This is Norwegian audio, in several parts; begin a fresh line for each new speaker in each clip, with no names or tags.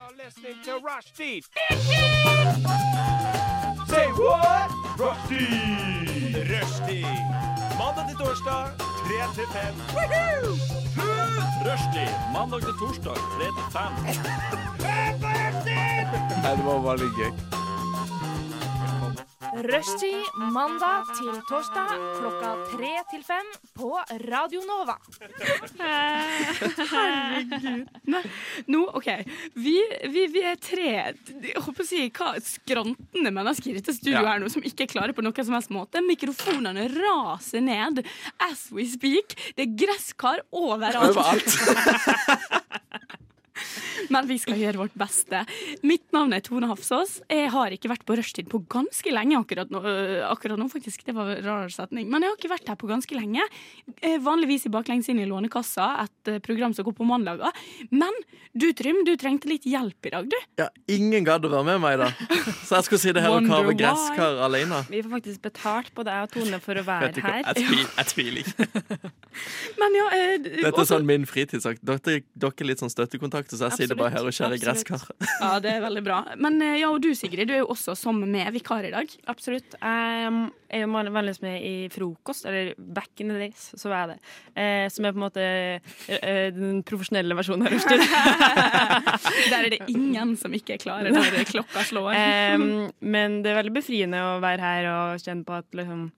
are listening to Rushdie. Say what? Rushdie. Rushdie. Mandag til torsdag, 3 til 5. Rushdie. Mandag til torsdag, 3 til 5.
Rushtid mandag til torsdag klokka tre til fem på Radio Nova.
Herregud. Nei, nå, OK. Vi, vi, vi er tre jeg håper å si, hva, skrantende mennesker i dette studioet
Ja.
her nå, som ikke er klare på noen som helst måte. Mikrofonene raser ned as we speak. Det er gresskar overalt. Men vi skal gjøre vårt beste. Mitt navn er Tone Hafsås. Jeg har ikke vært på rushtid på ganske lenge akkurat nå, øh, akkurat nå faktisk. Det var en rar setning. Men jeg har ikke vært her på ganske lenge. Eh, Vanligvis i baklengs inn i Lånekassa, et eh, program som går på mandager. Men du, Trym, du trengte litt hjelp i dag, du.
Ja, ingen gadd å være med meg, da. Så jeg skulle sitte her og
Wonder
kave
why.
gresskar alene.
Vi får faktisk betalt både jeg og Tone for å være
Vet du hva?
her.
Jeg tviler, jeg tviler ikke.
Men ja, eh,
Dette er
også-
sånn min fritidssak. Dere, dere er litt sånn støttekontakter, så jeg sitter bare her og skjærer
Absolutt.
gresskar.
ja, det er veldig bra. Men eh, ja, og du, Sigrid, du er jo også som med vikar i dag.
Absolutt. Jeg um, er jo van- vanligvis med i frokost, eller back in the days, så var jeg det. Eh, som er på en måte eh, den profesjonelle versjonen av rushtid.
Der er det ingen som ikke er klare når klokka slår.
Em, Eh, men det er veldig befriende å være her og kjenne på at liksom,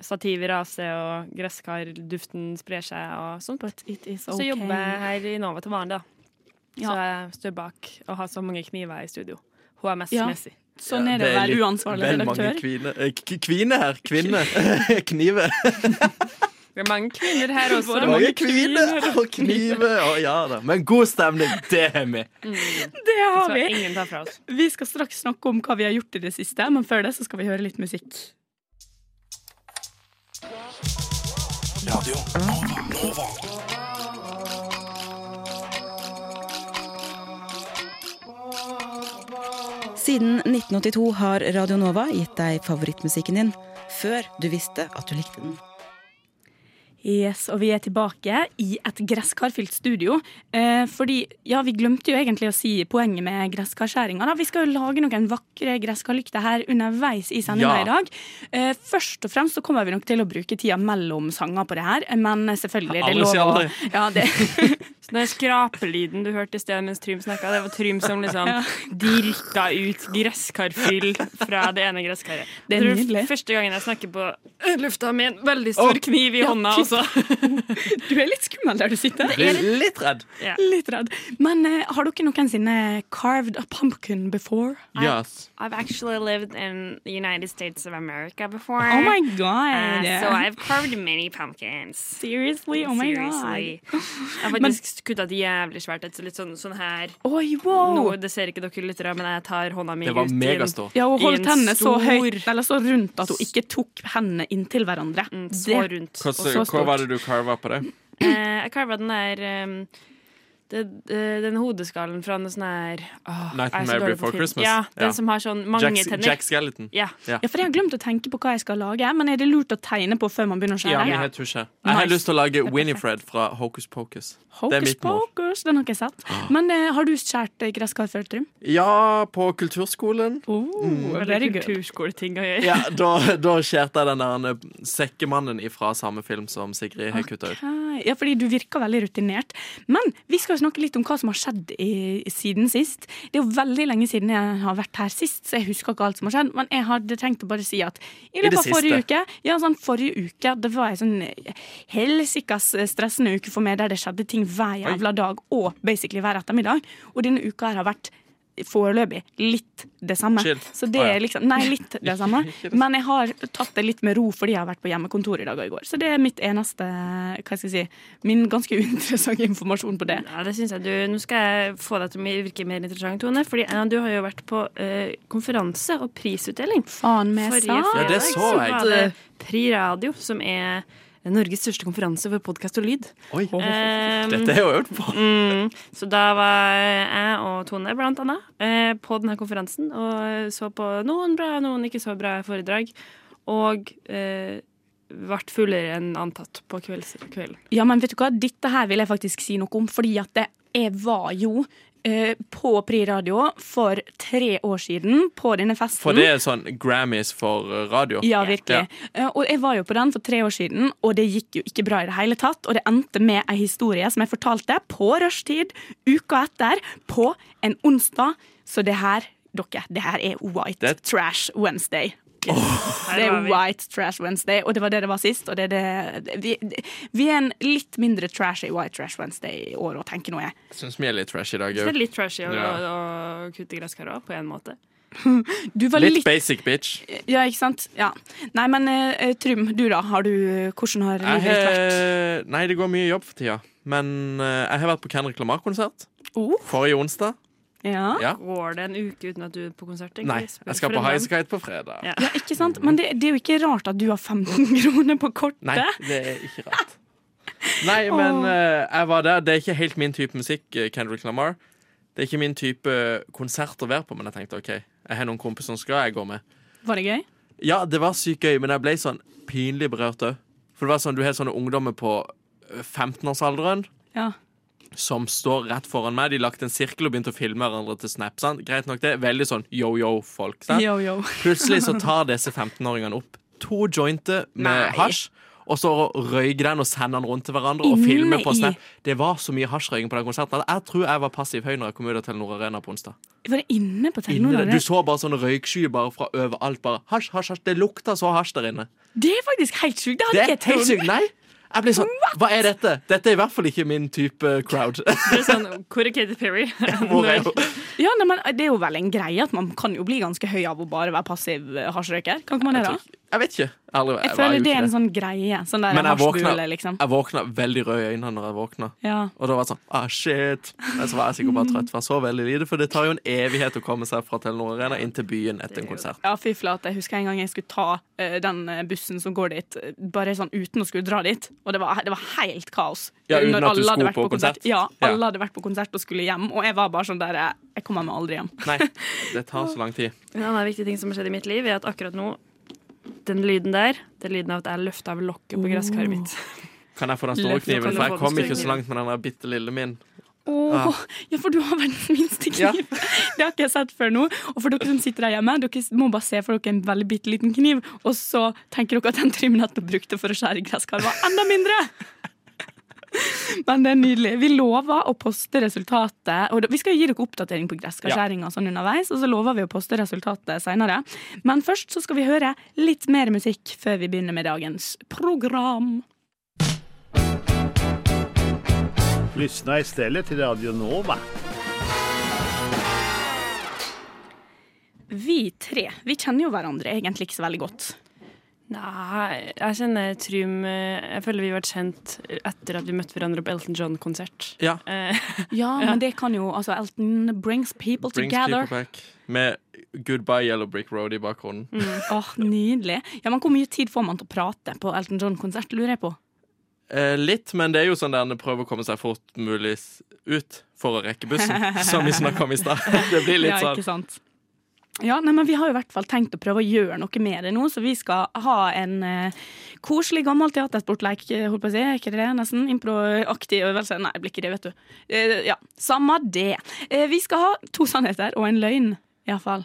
stativet raser, og gresskarduften sprer seg, og sånn på et
It is
Så
okay.
jobber jeg her i Nova til vanlig, da.
Ja.
Så jeg står bak og har så mange kniver i studio. HMS-messig.
Sånn er det å
Ja,
være
litt-
uansvarlig
vel mange
redaktør.
kvine, eh, k- kvine her. Kvinne. Knive.
Det er mange kvinner her også.
Bare
Mange
mange
kviner og knive. Å ja da. Men god stemning, det er vi.
Det har
Så
vi!
ingen tar fra oss.
Vi skal straks snakke om hva vi har gjort i det siste, men før det så skal vi høre litt musikk.
Siden 1982 har Radio Nova gitt deg favorittmusikken din før du visste at du likte den.
Yes, og vi er tilbake i et gresskarfylt studio. Eh, fordi, ja, vi glemte jo egentlig å si poenget med gresskarskjæringa. da. Vi skal jo lage noen vakre gresskarlykter her underveis i sendinga
Ja.
i dag. Eh, først og fremst så kommer vi nok til å bruke tida mellom sanger på det her, men selvfølgelig, det er
Aldri si
lov å
aldri.
ja, det,
Så den skrapelyden du hørte i sted mens Trym snakka, det var Trym som liksom dirka ut gresskarfyll fra det ene gresskaret.
Det er
Jeg tror
nydelig.
Første gangen jeg snakker på lufta med en veldig stor kniv i hånda også.
Du er litt skummel der du sitter.
Blir litt redd.
Litt redd. Men eh, har dere noensinne carved a pumpkin before?
Yes.
I've actually lived in the United States of America before. uh,
Oh my god!
eh, carved many pumpkins.
Seriously? Oh my god.
Seriously. Jeg har faktisk kutta et jævlig svært et, så litt sånn, sånn her.
Oi, wow!
Nå, det ser ikke dere lyttere, men jeg tar hånda mi
Det var
ut i en-
megastort.
Oh. Ja, hun
I
holdt
en
hendene så
stor-
høyt Eller så rundt at hun ikke tok hendene inntil hverandre.
Mm, Så
Det-
rundt.
Hva,
så stort.
hva var det du carva på det?
Eh, jeg carva den der ehm, det, eh, Den hodeskallen fra en sånn her åh,
Nightmare
jeg er så dårlig på
Before
film.
Christmas.
Ja, den
Ja.
som har sånn mange
Jack,
tenner.
Jack Skeleton.
Ja.
Ja, for Jeg har glemt å tenke på hva jeg skal lage, men er det lurt å tegne på før man begynner å
Ja,
skjære?
men jeg tror ikke. Jeg har
Nice.
lyst til å lage Winifred fra Hocus Pocus. Det er
Hocus
mitt mål.
pocus, den har ikke jeg sett.
Ah.
Men eh, har du skåret eh, gresskar før, Trym?
Ja, på kulturskolen.
Oh,
Mm, Veldig
very good.
kulturskoleting å gjøre.
Ja, da, da skjærte jeg den der eh, sekkemannen ifra samme film som Sigrid har kutta ut.
Hei. Ja, fordi du virker veldig rutinert. Men vi skal jo snakke litt om hva som har skjedd i, siden sist. Det er jo veldig lenge siden jeg har vært her sist, så jeg husker ikke alt som har skjedd. Men jeg hadde tenkt å bare si at i
det
løpet av forrige
siste.
uke, ja, sånn forrige uke, det var en sånn helsikas stressende uke for meg, der det skjedde ting hver jævla dag, og basically hver ettermiddag. Og denne uka her har vært Foreløpig litt det samme.
Chill.
Så det
Å, ja.
er liksom, nei, litt det samme. Men jeg har tatt det litt med ro fordi jeg har vært på hjemmekontor i dag og i går. Så det er mitt eneste, hva skal jeg si, min ganske uinteressante informasjon på det.
Ja, det synes jeg du, Nå skal jeg få deg til å virke mer interessant, Tone. Fordi eh, du har jo vært på eh, konferanse og prisutdeling.
Faen meg
Forrige
sant.
Ja, det
fredag
så jeg.
var det Pri Radio, som er Norges største konferanse for podkast og lyd.
Oi,
Eh,
dette er jo øvd på.
Mm. Så da var jeg og Tone blant annet eh, på denne konferansen og så på noen bra, noen ikke så bra foredrag. Og eh, ble fullere enn antatt på kvelds- kvelden.
Ja, men vet du hva, dette her vil jeg faktisk si noe om, fordi at det, jeg var jo eh, på Pri Radio for tre år siden, på denne festen.
For det er sånn Grammys for eh, radio.
Ja, virkelig. Eh, Og jeg var jo på den for tre år siden, og det gikk jo ikke bra i det hele tatt. Og det endte med ei historie som jeg fortalte på rushtid uka etter, på en onsdag. Så det her, dere, det her er White
Det-
Trash Wednesday. Det
Her
er
var vi.
White Trash Wednesday, og det var det det var sist. Og det, er det, vi, vi er en litt mindre trashy White Trash Wednesday i år, og tenker nå jeg.
Jeg syns vi er litt trash i dag
Så Det er
òg.
litt trashy å, å,
Ja.
å kutte gresskar òg, på en måte.
Du var
Litt
litt,
basic bitch.
Ja, ikke sant? Ja. Nei, men eh, Trym, du da? Har du, hvordan har livet
Jeg
ditt vært?
har, nei, det går mye jobb for tida. Men eh, jeg har vært på Kendrick Lamar-konsert
Oh,
forrige onsdag.
ja.
Ja.
Går det en uke uten at du er på konsert? egentlig?
Nei,
Spør
jeg skal på
for en venn.
Highasakite på fredag.
Ja.
Ja, ikke sant? Men det, det er jo ikke rart at du har 15 kroner på kortet.
Nei, det er ikke rart. Nei, men eh, jeg var der. Det er ikke helt min type musikk, eh, Kendrick Lamar. Det er ikke min type eh, konsert å være på, men jeg tenkte OK, jeg har noen kompiser som skal, jeg går med.
Var det gøy?
Ja, det var sykt gøy, men jeg ble sånn pinlig berørt òg. For det var sånn, du har sånne ungdommer på eh, 15-årsalderen
Ja.
som står rett foran meg. De lagde en sirkel og begynte å filme hverandre til Snap. Sant? Greit nok det, Veldig sånn yo-yo-folk. sant?
Yo, yo.
Plutselig så tar disse 15-åringene opp to jointer med hasj. Og så røyker den og sender den rundt til hverandre og
Inne
filmer på
i-
Snap. Det var så mye hasjrøyking på den konserten. at Jeg tror jeg var passiv høy når jeg kom ut av Telenor Arena på onsdag.
Var det inne på Telenor?
Inne der,
eller?
du så bare sånne røykskyer bare fra overalt. Bare hasj, hasj, hasj. Det lukta så hasj der inne.
Det er faktisk helt sjukt. Det
Det
hadde
er
ikke jeg
helt
trodd.
sykt. Nei! Jeg blir sånn Hva er dette? Dette er i hvert fall ikke min type crowd.
Det er sånn, Hvor er Katy Perry?
Hvor er hun?
Ja, nei, men eh, Det er jo vel en greie at man kan jo bli ganske høy av å bare være passiv eh, hasjrøyker. Kan ikke man det, da?
Jeg vet ikke. Ærlig, jeg
Jeg
var jo
føler det er
ikke det.
en sånn greie. Sånn der
Men jeg våkna,
hasjbule, liksom.
jeg våkna veldig rød i øynene når jeg våkna.
Ja.
Og da var det sånn ah, shit. Men så var jeg sikkert bare trøtt. for jeg så veldig lite, For det tar jo en evighet å komme seg fra Telenor Arena inn til byen etter en konsert.
Ja, fy flate. Jeg husker en gang jeg skulle ta eh, den eh, bussen som går dit, eh, bare sånn uten å skulle dra dit. Og det var, det var helt kaos.
Ja, uten
Når
at du
alle hadde
skulle
vært
på konsert.
Ja,
Ja.
alle hadde vært på konsert og skulle hjem, og jeg var bare sånn der eh, Jeg kommer meg aldri hjem.
Nei, det tar så lang tid.
En annen viktig ting som har skjedd i mitt liv, er at akkurat nå den lyden der, det er lyden av at jeg løfter av lokket på gresskaret mitt.
Kan jeg få den
Løft
store
opp
kniven?
den
For jeg
store
kom ikke
kniven.
så langt med den der bitte lille min.
Åh, ja, for du har verdens minste kniv.
Ja.
Det har ikke jeg sett før nå. Og for dere som sitter der hjemme, dere må bare se for dere en veldig bitte liten kniv, og så tenker dere at den Trym nettopp brukte for å skjære gresskar, var enda mindre! Men det er nydelig. Vi lover å poste resultatet. Og da- vi skal jo gi dere oppdatering på gresskarskjæringa sånn underveis, og så lover vi å poste resultatet seinere. Men først så skal vi høre litt mer musikk før vi begynner med dagens program.
Lyssna istället till Radio Nova.
Vi tre vi kjenner jo hverandre egentlig ikke så veldig godt.
Nei, jeg kjenner Trym eh, Jeg føler vi har vært kjent etter at vi møtte hverandre på Elton John-konsert.
Ja.
Eh,
Ja, men det kan jo altså Elton brings people
Brings
together.
people back. Med Goodbye Yellow Brick Road i bakgrunnen.
Mm. Åh, Nydelig. Ja, men Hvor mye tid får man til å prate på Elton John-konsert, lurer jeg på.
Eh, litt, men det er jo sånn der en prøver å komme seg fort mulig s- ut for å rekke bussen, som vi snakka om i stad. Det blir litt
ja,
sånn.
ikke sant? Ja, nei, men Vi har jo i hvert fall tenkt å prøve å gjøre noe med det nå, så vi skal ha en eh, koselig gammel teatersportleik, eh, holdt på å si. Er ikke det det? Nesten improaktig øvelse. Nei, det blir ikke det, vet du. Eh, ja, Samme det. Eh, vi skal ha to sannheter og en løgn, iallfall.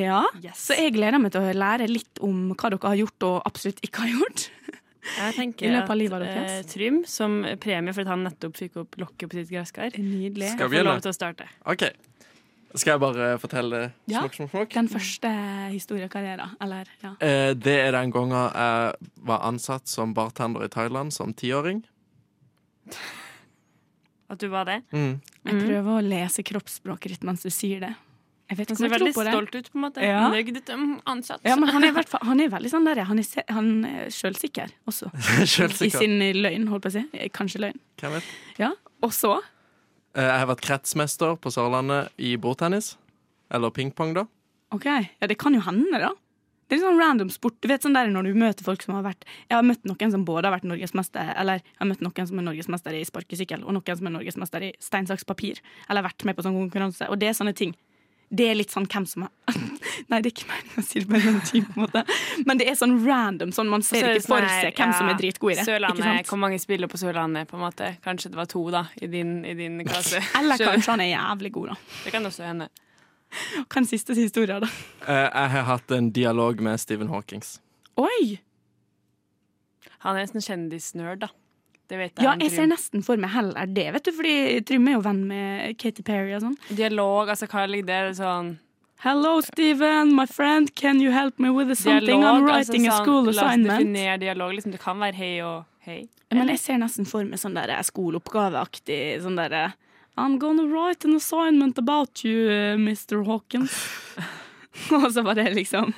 Ja. Så jeg gleder meg til å lære litt om hva dere har gjort og absolutt ikke har gjort.
jeg
I
tenker
løpet av
at
livet deres.
eh, Trym, som premie for at han nettopp fikk opp lokket på sitt gresskar,
Nydelig.
Skal vi
skal få
begynne?
lov til å starte.
OK. Skal jeg bare fortelle
Ja.
smokk, smokk, smokk?
Den første historiekarrieren, eller? Ja.
Eh, det er den gangen jeg var ansatt som bartender i Thailand som tiåring.
At du var det.
Mm.
Jeg prøver å lese kroppsspråket ditt mens du sier det. Jeg vet ikke
Han
om
ser
jeg
veldig
tror på det.
stolt ut, på en måte.
Ja.
Nøyd ut som ansatt.
Ja, men han er, i hvert fall, han er veldig sånn der, han er, se- han er selvsikker også. I
Selvsikker.
sin løgn, holdt på å si. Eh, Kanskje løgn.
Hvem vet?
Ja, og så
Eh, jeg har vært kretsmester på Sørlandet i bordtennis. Eller pingpong, da.
OK. Ja, det kan jo hende, da. Det er litt sånn random sport. Du vet sånn der når du møter folk som har vært Jeg har møtt noen som både har vært norgesmester Eller jeg har møtt noen som er norgesmester i sparkesykkel, og noen som er norgesmester i stein, saks, papir. Eller vært med på sånn konkurranse. Og det er sånne ting. det er litt sånn hvem som er Nei, det er ikke meningen å si det på den typen på en måte. Men det er sånn random, sånn man ser ikke for seg hvem som er dritgod i det. Ikke
Sørlandet,
sant?
Hvor mange spiller på Sørlandet? på en måte? Kanskje det var to da, i din, i din klasse.
Eller
Skjønner.
kanskje han er jævlig god, da.
Det kan også hende.
Hva er den siste historien, da?
Eh, jeg har hatt en dialog med Stephen Hawkings.
Oi!
Han er en sånn kjendisnerd, da. Det vet jeg.
Ja,
han
jeg ser
Trym.
nesten for meg heller det, vet du, fordi Trym er jo venn med Katy Perry og sånn.
Dialog, altså hva ligger det sånn
Hello, Steven, my friend, can you help me with something? I'm
Dialog,
writing a
altså,
school
sånn, La oss
assignment.
definere dialog. Liksom, det kan være hei og hei.
Men jeg ser nesten for meg sånn der skoleoppgaveaktig sånn der I'm gonna write an assignment about you, uh, Mr. Hawkins. Og så var det liksom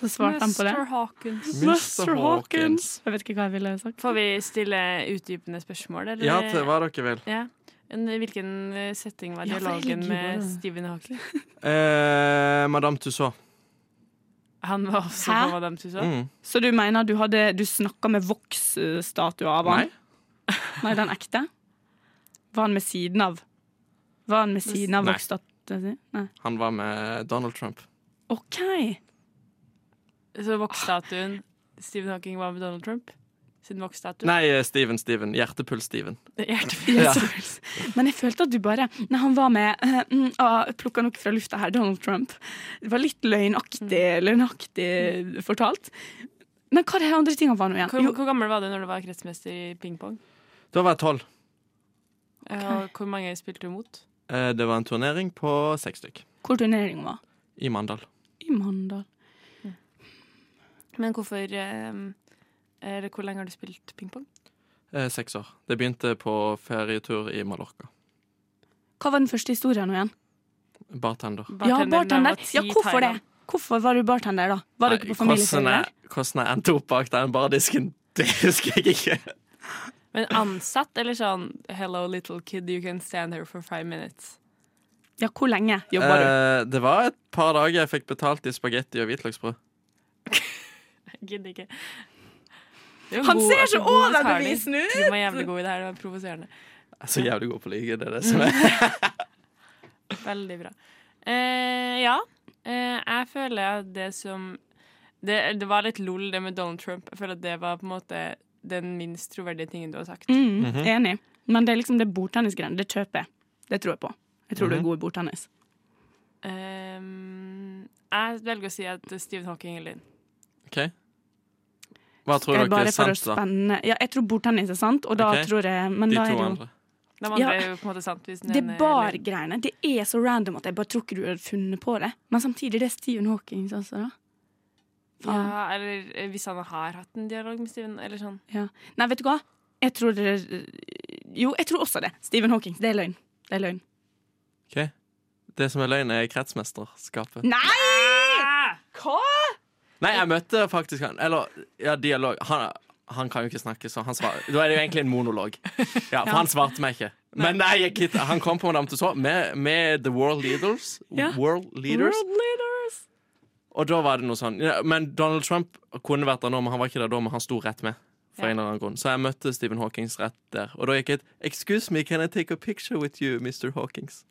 Så svarte han på det.
Mr. Hawkins.
Mr. Hawkins. Jeg vet ikke hva jeg ville sagt.
Får vi stille utdypende spørsmål, eller?
Ja, til hva dere vil.
Ja. Men i Hvilken eh, setting var
Ja, for det ligger
dialogen
jo
med
bare-
Stephen Hawkins?
Eh, Madame Tussauds.
Han var også
Hæ?
på Madame Tussauds.
Mm.
Så du mener du, hadde, du snakka med Vox-statuer av han?
Nei.
Nei, den ekte? Var han med siden av? Var han med siden av
Nei.
Vox-statuen sin? Nei.
Han var med Donald Trump.
OK.
Så voksstatuen Stephen Hawking var med Donald Trump? Sin voksstatue?
Nei, eh, Steven, Steven. Hjertepuls-Steven.
Hjertepuls.
Ja.
Men jeg følte at du bare Nei, han var med uh, Plukka noe fra lufta her, Donald Trump. Det var litt løgnaktig, løgnaktig fortalt. Men hva er de andre tingene var nå igjen?
Hvor,
Jo,
hvor gammel var du når du var kretsmester i pingpong?
Da var jeg tolv.
Og hvor mange spilte du mot?
Eh, det var en turnering på seks stykk.
hvor turneringa var?
I Mandal.
I Mandal.
Men hvorfor eh, Eller hvor lenge har du spilt pingpong?
Eh, seks år. Det begynte på ferietur i Mallorca.
Hva var den første historien nå igjen?
Bartender.
Ja,
Bartenderen der
bartender.
var ti
Ja, hvorfor det?
Thailand.
Hvorfor var du bartender, da? Var dere
Nei,
på familieferie?
hvordan jeg-
der?
Hvordan jeg endte opp bak den bardisken, det husker jeg ikke.
Men ansatt eller sånn Hello, little kid, you can stand here for five minutes.
Ja, hvor lenge jobba du?
Eh, det var et par dager jeg fikk betalt i spagetti og hvitløksbrød.
Jeg gidder ikke. Det er jo
Han
god-
ser
altså,
så
god
overbevisende
forklaring. Du var jævlig god i det her, det var provoserende.
Jeg er så jævlig god på å lyge, det er det som er.
Veldig bra. Eh, ja, eh, jeg føler at det som det, det var litt lol, det med Donald Trump. Jeg føler at det var på en måte den minst troverdige tingen du har sagt.
Mm, Enig. Men det er liksom det bordtennisgreiene. Det kjøper jeg. Det tror jeg på. Jeg tror du er god i bordtennis.
Ehm, jeg velger å si at Stephen Hawking er løgn.
Ok. Hva tror
Jeg
dere er
bare for å
sant, da?
spenne Ja, jeg tror bordtennis er sant, og da
Ok.
tror jeg Men
De
da er
to
det jo
andre.
De andre
Ja.
er jo på en måte sant. Hvis den
det
ene er løgn.
bargreiene. Det er så random at jeg bare tror ikke du hadde funnet på det. Men samtidig, det er Stephen Hawkins også, da. Faen.
Ja, eller eh, hvis han har hatt en dialog med Steven, eller sånn.
Ja. Nei, vet du hva? Jeg tror det Jo, jeg tror også det. Stephen Hawkins. Det er løgn. Det er løgn.
Ok. Det som er løgn, er kretsmesterskapet.
Nei! Hva?
Nei, jeg møtte faktisk han. Eller, ja, dialog. Han, han kan jo ikke snakke, så han svarer. Da er det jo egentlig en monolog. Ja, For han svarte meg ikke. Men nei, jeg gikk hit. han kom på Madame Tussauds med, med The World Leaders.
Ja.
World Leaders.
World leaders.
Og da var det noe sånn ja, Men Donald Trump kunne vært der nå, men han var ikke der da, men han sto rett med. For
Ja.
en eller annen grunn Så jeg møtte Stephen Hawkins rett der. Og da gikk jeg et Excuse me, can I take a picture with you, Mr. Hawkins?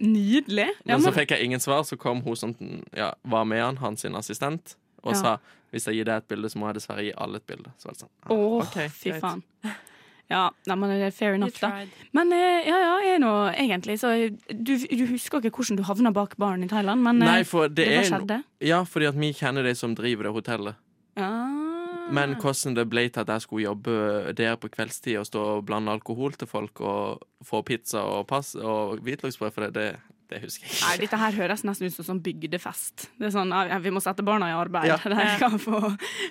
Nydelig. Ja,
Men så
men,
fikk jeg ingen svar, så kom hun som ja, var med han, hans sin assistent, og
Ja.
sa hvis jeg gir deg et bilde, så må jeg dessverre gi alle et bilde. Så var det sånn, ja,
Åh,
ok,
fy
greit.
faen. Ja, nei, men det er fair
You
enough, da.
tried.
Men eh, ja, ja, jeg er nå egentlig så eh, du, du husker ikke hvordan du havna bak baren i Thailand, men eh,
Nei, for det,
det, bare
er no-
skjedde.
Ja, fordi at vi kjenner de som driver det hotellet.
Ah.
Men hvordan det ble til at jeg skulle jobbe der på kveldstid og stå og blande alkohol til folk og få pizza og pass og hvitløksbrød for det, det, det husker jeg ikke.
Nei, dette her høres nesten ut som sånn bygdefest. Det er sånn, ja, ja, Vi må sette barna i arbeid.
Ja.
De kan få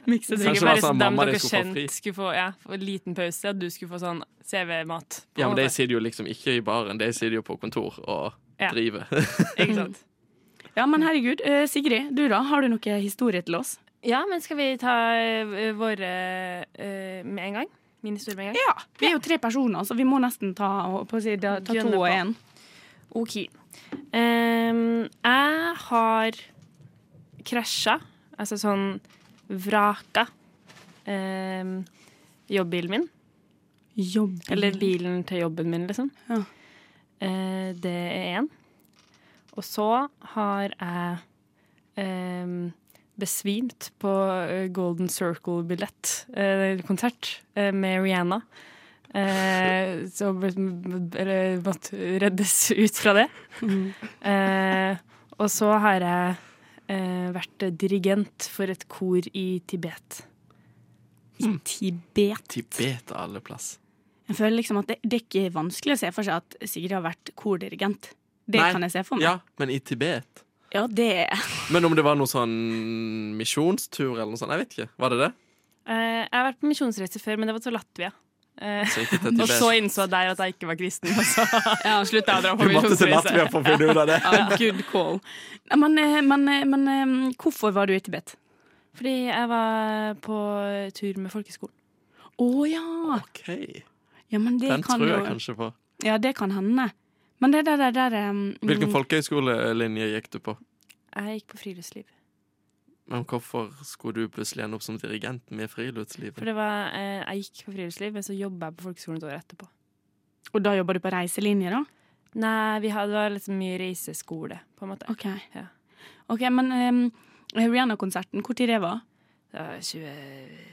mikse drikke.
Kanskje
Det er
det
sikkert
var
bare
sånn
dem
mamma de
dere
skulle få fri.
kjent skulle få ja, få en liten pause, at du skulle få sånn CV-mat.
Ja, men de sitter jo liksom ikke i baren, de sitter jo på kontor og
Ja.
driver.
Ikke sant?
Mm.
Ja, men herregud. eh, Sigrid, du da? Har du noe historie til oss?
Ja, men skal vi ta eh, våre eh, med en gang? Min historie med en gang?
Ja. Vi er jo tre personer, så vi må nesten ta, og- på å si, da, ta to
Gønne på.
og én.
OK. Ehm, jeg har krasja, altså sånn vraka, ehm, jobbbilen min.
Jobb.
Eller bilen til jobben min, liksom.
Ja.
Eh, det er én. Og så har jeg ehm, besvimt på eh, Golden Circle-billett, eh, konsert, eh, med Rihanna. Eh, så ble- eller, måtte reddes ut fra det. Eh, og så har jeg eh, vært dirigent for et kor i Tibet.
Tibet.
Tibet av alle plass.
Jeg føler liksom at det, det er ikke vanskelig å se for seg at Sigrid har vært kordirigent. Det
Nei.
kan jeg se for meg.
Ja, men i Tibet.
Ja, det
Men om det var noe sånn misjonstur eller noe sånt, jeg vet ikke. Var det det?
Eh, jeg har vært på misjonsreise før, men det var til Latvia. Eh,
Så gikk det til
og så
Tibet.
innså jeg der at jeg ikke var kristen. Og så
Ja, slutt å dra på
Vi måtte til
misjonsreise.
Latvia for å finne ut av det.
Ja, good call. Nei, Men, eh, men, eh, men eh, hvorfor var du i Tibet?
Fordi jeg var på tur med folkeskolen.
Å ja.
Ok,
ja! Men det
Den
kan
tror
jo
jeg kanskje på.
Ja, det kan hende. Men det der, der, der um,
Hvilken
mm,
folkehøyskolelinje gikk du på?
Jeg gikk på friluftsliv.
Men hvorfor skulle du plutselig ende opp som dirigent med
For
friluftslivet?
det var, eh, jeg gikk på friluftsliv, men så jobba jeg på folkeskolen et år etterpå.
Og da jobber du på reiselinje, da?
Nei, vi hadde, det var liksom mye reiseskole, på en måte.
OK.
Ja.
Ok, Men um, Rihanna-konserten, når det var
Det var 20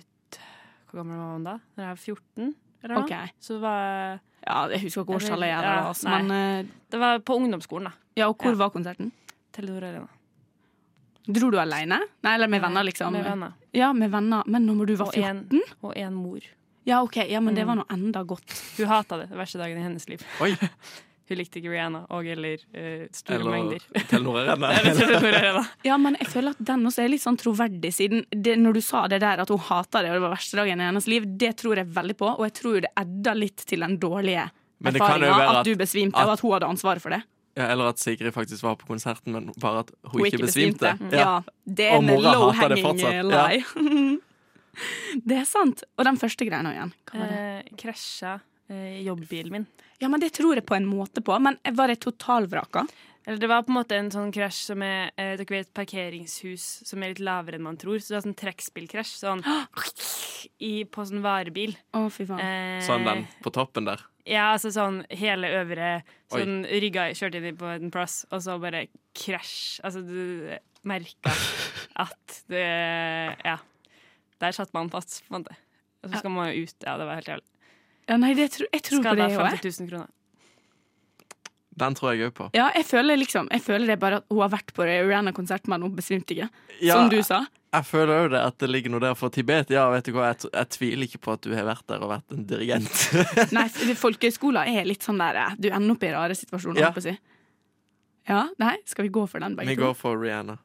Hvor gammel var man da? Da jeg var 14? Eller noe?
Ok.
Så det var,
Ja, jeg husker ikke årstallet jeg
Ja,
da, altså,
nei.
men eh,
det var på ungdomsskolen, da.
Ja, og hvor
Ja.
var konserten?
Telenor Arena.
Dro du alene? Nei, eller med venner, liksom?
Med venner.
Ja, med venner. Men når du var
Og en,
14?
Mm. og en mor.
Ja, OK. Ja, men det var nå enda godt.
Hun hata det. Den verste dagen i hennes liv.
Oi.
Hun likte ikke Rihanna og eller eh, store
Eller
mengder.
Telenor-rennet?
Telenor Arena.
Ja, men jeg føler at den også er litt sånn troverdig, siden det, når du sa det der at hun hater det, og det var verste dagen i hennes liv, det tror jeg veldig på, og jeg tror jo det edda litt til den dårlige
Men det kan jo
erfaringa
være
at,
at-
du besvimte, og at hun hadde ansvaret for det.
Ja, eller at Sigrid faktisk var på konserten, men bare at hun,
Hun Mm.
ikke besvimte.
Ja. det er
Og
en
mora hater det
low-hanging
fortsatt. Ja.
lie. det er sant. Og den første greia nå igjen. Hva var det?
Eh, krasja eh, jobbbilen min.
Ja, men det tror jeg på en måte på, men var det totalvraka?
Eller det var på en måte en sånn krasj som er eh, Dere vet parkeringshus som er litt lavere enn man tror. Så det var sånn trekkspillkrasj. Sånn i, på sånn varebil.
Å, fy faen.
Eh,
Sånn den på toppen der.
Ja, altså sånn hele øvre
Oi.
Sånn rygga kjørte inn på en plass, og så bare krasj. Altså, du merka at det Ja. Der satt man fast, på en måte. Og så skal man jo ut. Ja, det var helt jævlig.
Ja, nei, det tror, jeg tror på
Skada
det òg, jeg.
50 000 kroner.
Den tror jeg òg på.
Ja, jeg føler liksom Jeg føler det er bare at hun har vært på Rihanna-konsert, men hun besvimte ikke.
Ja,
Som du sa.
Jeg føler òg det at det ligger noe der for Tibet. Ja, vet du hva, jeg, t jeg tviler ikke på at du har vært der og vært en dirigent.
Nei, f- folkehøyskoler er litt sånn der eh, Du ender opp i rare situasjoner,
Ja.
holdt på å si. Ja, nei, skal vi gå for den, begge
Vi går for Rihanna.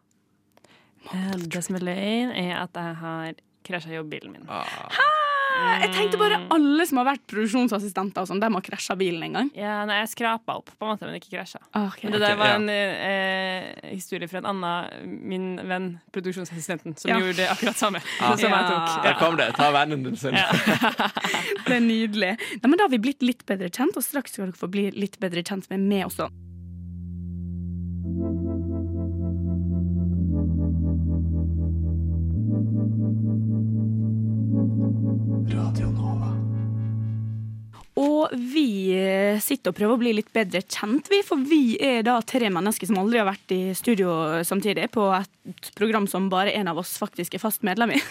Eh, Det som er løgn, er at jeg har krasja jobbbilen min.
to? Jeg tenkte bare alle som har vært produksjonsassistenter og sånn, de har krasja bilen en gang.
Ja, nei, jeg skrapa opp, på en måte, men ikke krasja.
Ok.
Men det der var
ja.
en eh, historie fra en annen min venn, produksjonsassistenten, som
Ja.
gjorde det akkurat samme.
Ah.
Som jeg tok.
Ja.
Der kom det. Ta vennen din sin.
Det er nydelig. Nei, men da har vi blitt litt bedre kjent, og straks skal dere få bli litt bedre kjent med meg også. Og vi eh, sitter og prøver å bli litt bedre kjent, vi, for vi er da tre mennesker som aldri har vært i studio samtidig, på et program som bare en av oss faktisk er fast medlem i.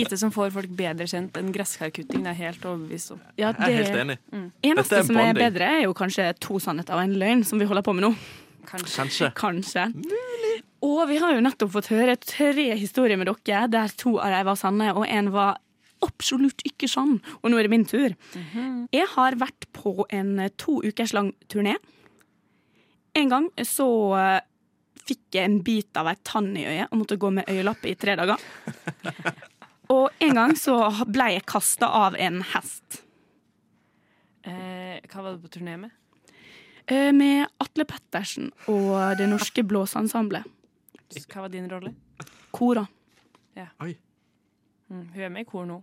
Lite som får folk bedre kjent enn gresskarkutting, det er jeg helt overbevist om.
Ja, Mm.
Jeg er helt enig. Dette
Eneste
er en
som er
bonding.
bedre, er jo kanskje to sannheter og en løgn, som vi holder på med nå.
Kanskje.
Kanskje.
Kanskje. Og vi har jo nettopp fått høre tre historier med dere, der to av dem var sanne, og én var absolutt ikke sann. Og nå er det min tur.
Mhm.
Jeg har vært på en eh, to ukers lang turné. En gang så eh, fikk jeg en bit av ei tann i øyet og måtte gå med øyelapp i tre dager. Og en gang så ble jeg kasta av en hest.
Eh, hva var du på turné med?
Eh, med Atle Pettersen og Det Norske Blåseensemblet.
Hva var din rolle?
Kora.
Mm, hun er med i kor nå,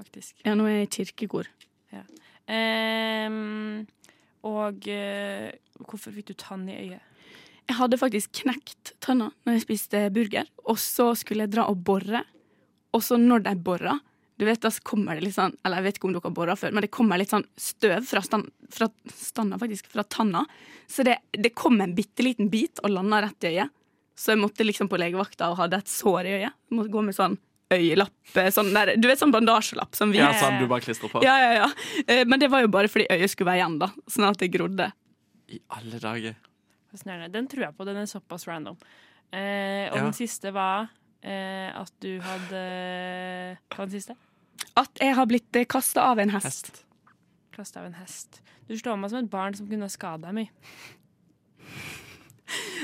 faktisk.
Ja, nå er jeg i kirkekor.
Ehm, og eh, hvorfor fikk du tann i øyet?
Jeg hadde faktisk knekt tanna når jeg spiste burger, og så skulle jeg dra og bore. Og så når de bora, Du vet, da kommer det litt sånn Eller jeg vet ikke om dere har bora før, men det kommer litt sånn støv fra, stan, fra standa, faktisk, fra tanna. Så det, det kom en bitte liten bit og landa rett i øyet. Så jeg måtte liksom på legevakta og hadde et sår i øyet. Jeg måtte gå med sånn øyelapp eh, sånn der, Du vet sånn bandasjelapp som vi
Ja, sånn du bare klistrer på.
ja, ja, ja. Eh, Men det var jo bare fordi øyet skulle være igjen, da. Sånn at det grodde.
I alle dager.
Fascinerende. Den tror jeg på. Den er såpass random. Eh, og
Ja.
den siste var eh, at du hadde eh, Hva var den siste?
At jeg har blitt kasta av en hest.
Hest.
Kasta av en hest. Du slår meg som et barn som kunne ha skada meg.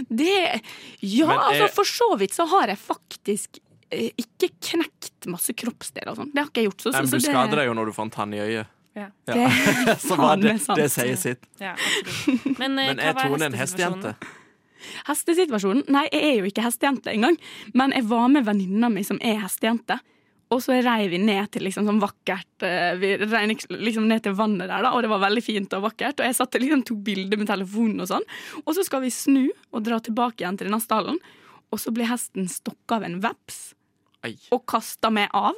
Det Ja,
Men jeg-
altså, for så vidt så har jeg faktisk eh, ikke knekt masse kroppsdeler og sånn. Det har ikke jeg gjort. Så, så,
Men du
så det-
skader deg jo når du får en tann i øyet.
Ja.
Det-
Så var det,
Faen, sant.
det sier sitt.
Ja, absolutt. Men, eh,
Men
hva
jeg
var
tror hun er en
hestesituasjonen?
hestejente.
Hestesituasjonen? Nei, jeg er jo ikke hestejente engang. Men jeg var med venninna mi som er hestejente. Og så rei vi ned til liksom sånn vakkert eh, Vi rei niks- liksom ned til vannet der, da, og det var veldig fint og vakkert. Og jeg satte liksom tok bilder med telefonen og sånn. Og så skal vi snu og dra tilbake igjen til denne stallen. Og så blir hesten stokka av en veps
Ei.
og kaster meg av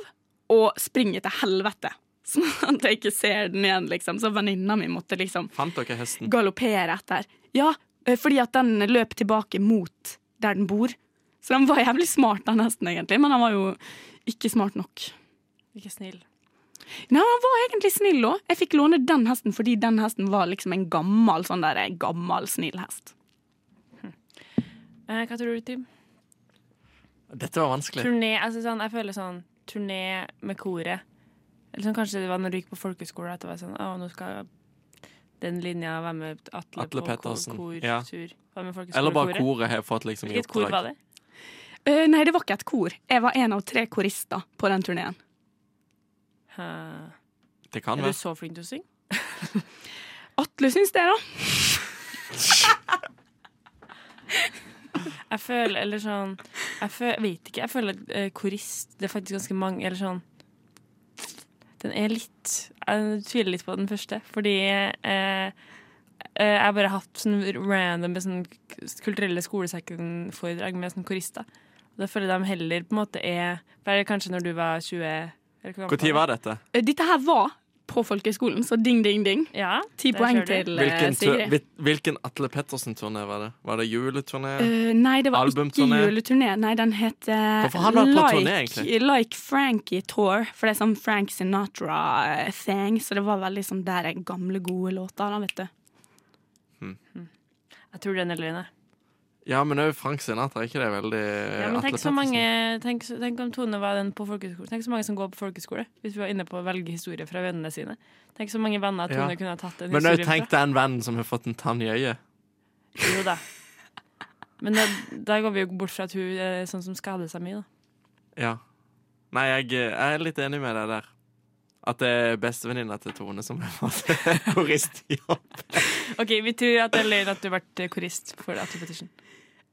og springer til helvete. Sånn at jeg ikke ser den igjen, liksom. Så venninna mi måtte liksom
Fant dere hesten?
galoppere etter. Ja, eh, fordi at den løp tilbake mot der den bor. Så den var jævlig smart, den hesten, egentlig, men han var jo ikke smart nok.
Ikke snill.
Nei, han var egentlig snill òg. Jeg fikk låne den hesten fordi den hesten var liksom en gammel sånn der, gammel snill hest.
Eh, hva tror du, Tim?
Dette var vanskelig.
Turné, altså sånn, jeg føler sånn turné med koret. Eller sånn, kanskje det var når du gikk på folkehøyskole at det var sånn Å, nå skal den linja være med Atle,
Atle
på
Pettersen,
ko-
ja.
kortur. Være med folkehøyskolekoret.
Eller bare koret har fått liksom i
Hvilket kor var
oppdrag.
det?
Eh, nei, det var ikke et kor. Jeg var en av tre korister på den turneen.
Hæ.
Det kan
Er
være.
du så flink til å synge?
Atle syns det, da.
Jeg føler Eller sånn Jeg føler, vet ikke. Jeg føler at eh, korist Det er faktisk ganske mange Eller sånn Den er litt Jeg tviler litt på den første, fordi eh, eh, jeg har bare hatt sånn random med sånn kulturelle skolesekken-foredrag med sånn korister. Og Da føler jeg de heller på en måte er For det er kanskje når du var 20 eller hvor gammel
Når var dette?
Eh, Dette her var på folkehøyskolen, så ding, ding, ding.
Ja,
Ti
der
poeng
ser du.
til eh,
Hvilken, tur,
Sigrid.
hvil- hvilken Atle Pettersen-turné var det? Var det juleturné?
Eh, nei, det var ikke
Albumturné?
juleturné. Nei, den het eh,
Hvorfor har han vært på turné, egentlig?
like, like Frankie Tour. For det er sånn Frank Sinatra-thing. Så det var veldig sånn der er gamle, gode låter. Da, vet du.
Jeg tror den er løgn. jeg.
Ja, men òg Frank Sinatra. Er ikke det veldig
Ja, men
Atle
tenk, så
Pettersen?
mange, tenk, så- tenk om Tone var den på folkehøyskole. Tenk så mange som går på folkehøyskole. Hvis vi var inne på å velge historier fra vennene sine. Tenk så mange venner Tone
Ja.
kunne ha tatt en
Men òg
historie
tenk deg en venn som har fått en tann i øyet.
fra. Jo da. Men da, da går vi jo bort fra at hun er sånn som skader seg mye, da.
Ja. Nei, jeg, eh, jeg er litt enig med deg der. At det er bestevenninna til Tone som har fått koristjobb.
OK, vi tror at det er løgn at du har vært korist for Atle Pettersen.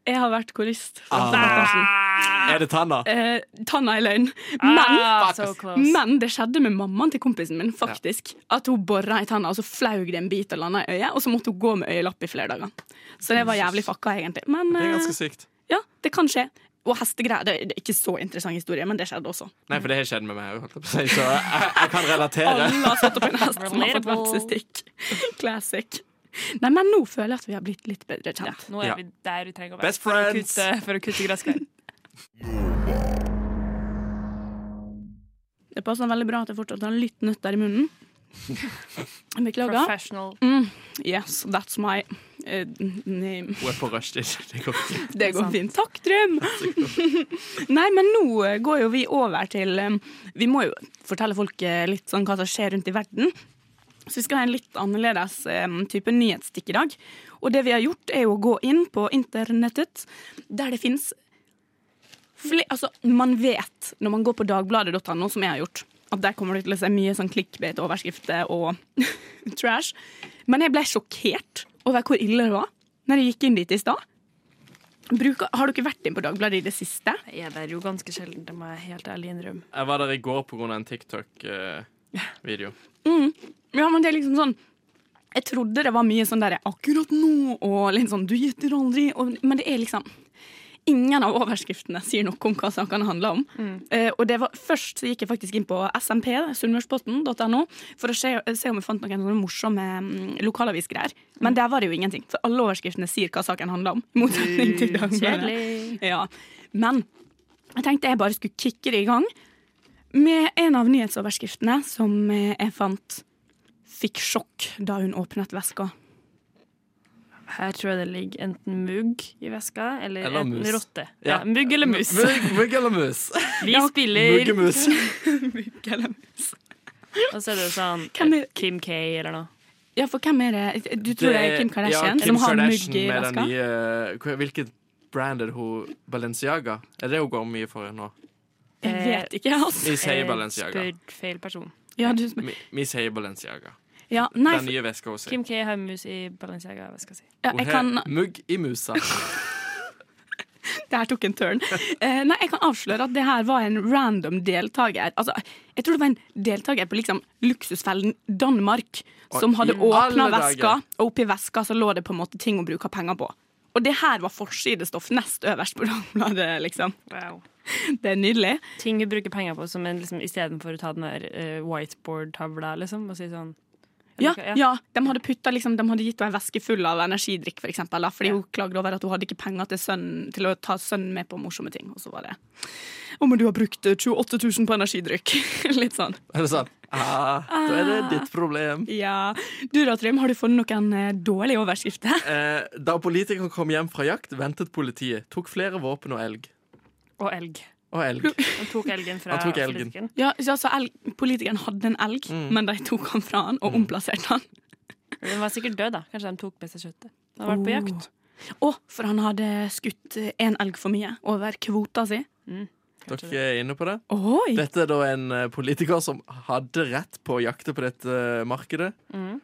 Jeg har vært korist.
Ah. Er det tanna?
Eh, tanna i løgn.
Ah, so
men,
close.
men det skjedde med mammaen til kompisen min, faktisk. At hun bora i tanna, og så flaug det en bit og landa i øyet. Og så måtte hun gå med øyelapp i flere dager. Så det var jævlig fucka, egentlig. Men
Det er ganske
eh,
sykt.
ja, det kan skje. Og hestegreier. Det det er ikke så interessant historie, men det skjedde også.
Nei, for det har skjedd med meg òg, holdt jeg på å si. Så jeg, jeg kan relatere.
Alle har satt opp en hest som har fått
Relatable.
vepsestikk. Classic. Nei, men nå føler jeg at vi har blitt litt bedre kjent.
Nå er
Ja.
vi der vi trenger å være.
Best
for å
friends.
kutte- For å kutte gresskar.
Det passer veldig bra at jeg fortsatt har litt nøtter i munnen. Beklager.
Professional.
Yes, that's my eh, name.
Hun er på rushtid. Det går ikke.
Det går fint. Takk, Drøm! Nei, men nå eh, går jo vi over til eh, Vi må jo fortelle folk eh, litt sånn hva som skjer rundt i verden. Så vi skal ha en litt annerledes eh, type nyhetsstikk i dag. Og det vi har gjort, er jo å gå inn på internettet, der det fins Fle altså, man vet, når man går på dagbladet.no, som jeg har gjort, at der kommer det til å se mye sånn clickbait-overskrifter og trash. Men jeg ble sjokkert over hvor ille det var når jeg gikk inn dit i stad. Bruker, har dere vært inn på Dagbladet i det siste?
Jeg er der jo ganske sjelden, det må jeg helt ærlig innrømme.
Jeg var der i går pga. en eh, TikTok-video.
Ja, men det er liksom sånn Jeg trodde det var mye sånn der akkurat nå, og litt sånn du gjetter aldri, og, men det er liksom Ingen av overskriftene sier noe om hva sakene handler om. Eh, og det var, først så gikk jeg faktisk inn på SMP, sunnmørsposten.no, for å se, se om jeg fant noen sånne morsomme mm, lokalavisgreier. Men der var det jo ingenting, for alle overskriftene sier hva saken handler om. i motsetning til Dagbladet. Ja. Men jeg tenkte jeg bare skulle kicke det i gang med en av nyhetsoverskriftene som eh, jeg fant fikk sjokk da hun åpnet veska.
Her tror jeg det ligger enten mugg i veska eller,
Eller
enten
mus.
rotte.
Ja.
Ja. mugg eller mus.
Mugg mugg eller mus?
Vi spiller
Muggemus.
Og så er det jo sånn
Hvem er-
Kim K eller noe.
Ja, for hvem er det? Du tror det er Kim Kardashian
ja, Kim
som har
Kardashian
mugg i
med den
veska?
nye- hva- Hvilket brand er det hun Balenciaga? Er det hun går mye for nå?
Jeg vet ikke, altså.
Vi sier
Eh,
Balenciaga.
Spør feil person.
Ja, du, spør-
Vi- Vi sier Balenciaga.
ja, nei,
Den nye veska hun sier.
Kim K har mus i Balenciaga-veska si.
ja,
Hun
jeg
har
kan
Mugg i musa.
Det her tok en turn. Eh, nei, jeg kan avsløre at det her var en random deltaker. Altså, jeg tror det var en deltaker på liksom luksusfellen Danmark som
Og
hadde
i
åpna
alle
veska,
dager.
og oppi veska så lå det på en måte ting å bruke penger på. Og det her var forsidestoff nest øverst på Dagbladet, liksom.
Wow.
Det er nydelig.
Ting du bruker penger på som en, liksom, istedenfor å ta den der eh, whiteboard-tavla, liksom, og si sånn
Ja,
Eller-
ja. De hadde, putta, liksom, de hadde gitt henne en veske full av energidrikk, for eksempel, da, fordi hun klagde over at hun hadde ikke penger til, sønnen, til å ta sønnen med på morsomme ting. Og så var det Å, men du har brukt eh, 28 000 på energidrikk. Litt sånn.
Er det sånn? Ah, da er det ditt problem.
Ja. Du da, Trym, har du funnet noen eh, dårlige overskrifter?
Eh, da politikeren kom hjem fra jakt, ventet politiet. Tok flere våpen og elg.
Og elg.
Og elg.
Han tok elgen fra
Han tok elgen.
flisken.
Ja, så altså, elg, Politikeren hadde en elg, men de tok han fra han og omplasserte han.
Den var sikkert død, da. Kanskje de tok med seg kjøttet. Han har vært på
Oh.
jakt.
Å, for han hadde skutt én elg for mye over kvota si.
Dere er inne på det?
Oi!
Dette er da en eh, politiker som hadde rett på å jakte på dette eh, markedet.
Mm.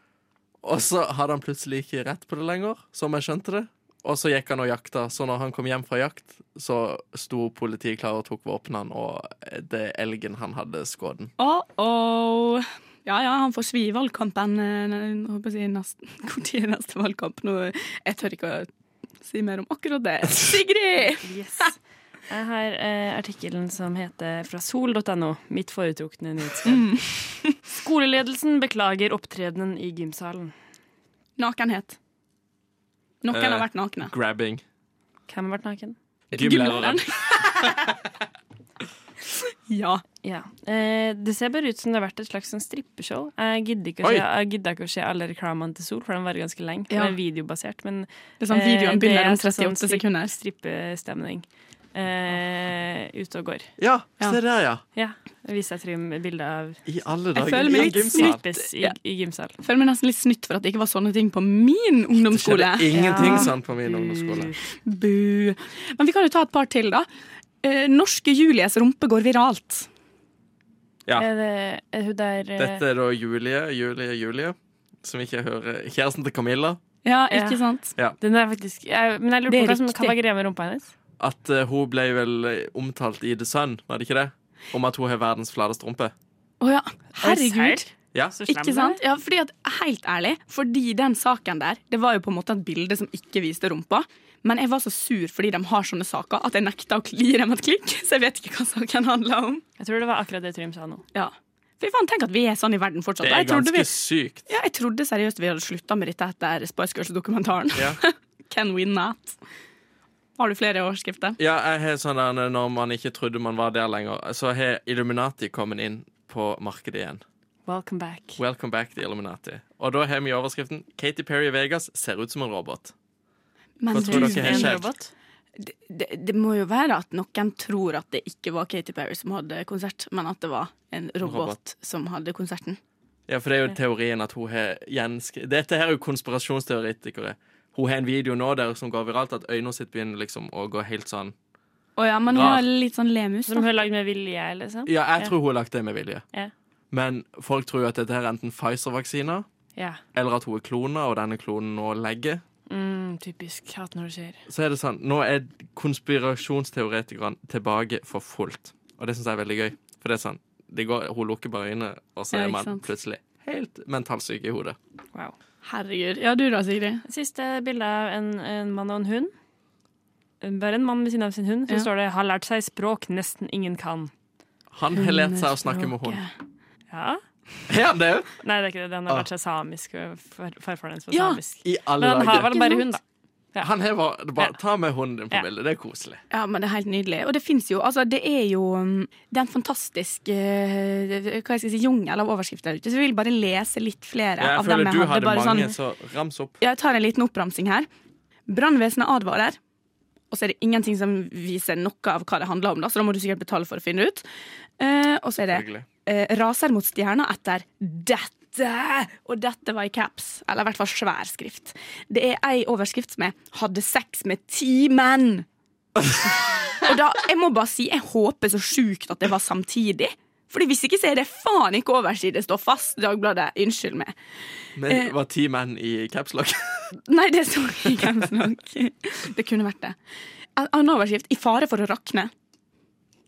Og så hadde han plutselig ikke rett på det lenger, som jeg skjønte det. Og så gikk han og jakta, så når han kom hjem fra jakt, så sto politiet klar og tok våpnene og eh, det elgen han hadde skutt.
Oh, oh. Ja, ja, han får svi i valgkampen eh, jeg håper å si neste, hvor tid er neste valgkamp. Nå, jeg tør ikke å si mer om akkurat det. Sigrid!
Yes. Jeg har eh, artikkelen som heter fra sol.no, mitt foretrukne nyhetssted. Skoleledelsen beklager opptredenen i gymsalen.
Nakenhet. Noen
Eh,
har vært nakne.
Grabbing.
Hvem har vært naken?
Gymlæreren.
Ja.
Ja. Eh, det ser bare ut som det har vært et slags sånn strippeshow. Jeg gidder ikke, å
Oi.
se, jeg gidder ikke å se alle reklamene til Sol, for den varer ganske lenge.
Ja.
Den er videobasert, men
Det er sånn videoen
eh, det
begynner
er
om 38
sånn
sekunder.
strippestemning eh, ute og går.
Ja,
Ja.
se der, ja.
Ja. Jeg viser Trym bilde av
I alle
Jeg
dager.
føler meg
i en
litt
gymsal.
snytt.
strippes i,
Ja.
i gymsal.
Jeg føler meg nesten litt snytt for at det ikke var sånne ting på min ungdomsskole.
Skjedde ingenting
Ja.
sånn på min ungdomsskole.
Mm. Bu. Men vi kan jo ta et par til, da. Eh, Norske Julies rumpe går viralt.
Ja.
Er det er hun der eh,
Dette er da Julie, Julie, Julie, som ikke hører Kjæresten til Camilla.
Ja,
ikke
ikke sant?
Den er faktisk jeg, Men jeg lurer
Det
på
er
hva som
riktig.
hva var greia med rumpa hennes.
At eh, hun ble vel eh, omtalt i The Sun, var det ikke det? Om at hun har verdens flateste rumpe.
Å ja. Herregud.
Ja.
Så slem
Ikke sant? Ja, fordi at, helt ærlig, fordi den saken der, det var jo på en måte et bilde som ikke viste rumpa. Men jeg var så sur fordi de har sånne saker, at jeg nekta å gi dem et klikk. Så jeg vet ikke hva saken handler om.
Jeg tror det var akkurat det Trym sa nå.
Ja. Fy faen, tenk at vi er sånn i verden fortsatt.
Det
Og
er
Jeg trodde,
ganske
vi,
sykt.
ja, jeg trodde seriøst vi hadde slutta med dette etter Spice Girls-dokumentaren.
Ja.
Can we not? Har du flere overskrifter?
Ja, jeg har sånn der, eh, Når man ikke trodde man var der lenger, så har Illuminati kommet inn på markedet igjen.
Welcome back.
Welcome back to Illuminati. Og da har vi overskriften 'Katy Perry i Vegas ser ut som en robot'.
Men
Hva tror
du,
dere har
En
skjedd?
robot.
det, det, det må jo være at noen tror at det ikke var Katy Perry som hadde konsert, men at det var en robot,
Robot.
som hadde konserten.
Ja, for det er jo teorien at hun har gjensk... Dette her er jo konspirasjonsteoretikere. Hun har en video nå der som går viralt, at øynene sitt begynner liksom å gå helt sånn
Å ja, men hun
Rar.
har litt sånn lemus.
Som
Da.
hun har lagd med vilje, liksom.
Ja, jeg tror hun har lagt det med vilje.
Ja.
Men folk tror jo at dette her er enten Pfizer-vaksiner,
Ja.
eller at hun er klona, og denne klonen nå legger.
Mm, typisk. Hater når det skjer.
Så er det sånn, nå er konspirasjonsteoretikerne tilbake for fullt. Og det syns jeg er veldig gøy. For det er sånn, det går, hun lukker bare øynene, og så
Ja,
er
ikke
man
sant.
plutselig helt mentalsyk i hodet.
Wow.
Herregud. Ja, du da, Sigrid.
Siste bilde av en, en mann og en hund. bare en mann ved siden av sin hund, så
Ja.
står det 'har lært seg språk nesten ingen kan'.
Han har lært seg å snakke med hund.
Ja?
Er han det òg?
Nei, det er ikke det. Den har lært seg samisk. og far- Farfaren hans var
Ja.
samisk.
Ah. I alle
Men han har
dager.
vel bare hund, da.
Han har bare,
Ja.
bare Ta med hunden din på
Ja.
bildet. Det er koselig.
Ja, men det er helt nydelig. Og det fins jo Altså, det er jo um, Det er en fantastisk eh, hva jeg skal si, jungel av overskrifter der ute, så vi vil bare lese litt flere
Jeg
av dem
føler
jeg
du
hadde.
hadde
Bare sånn,
mange, så rams opp.
jeg tar en liten oppramsing her. Brannvesenet advarer, og så er det ingenting som viser noe av hva det handler om, da, så da må du sikkert betale for å finne det ut. Eh, og så er det
Hyggelig.
eh, raser mot stjerna etter dette, og dette var i caps, eller i hvert fall svær skrift. Det er ei overskrift som er 'hadde sex med ti menn'. og da, jeg må bare si, jeg håper så sjukt at det var samtidig. Fordi Hvis ikke så er det faen ikke oversidestoff, ass, Dagbladet. Unnskyld meg.
Men det var ti menn i capslock.
Nei, det står ikke i Games Log. Det kunne vært det. En annen overskrift 'I fare for å rakne'.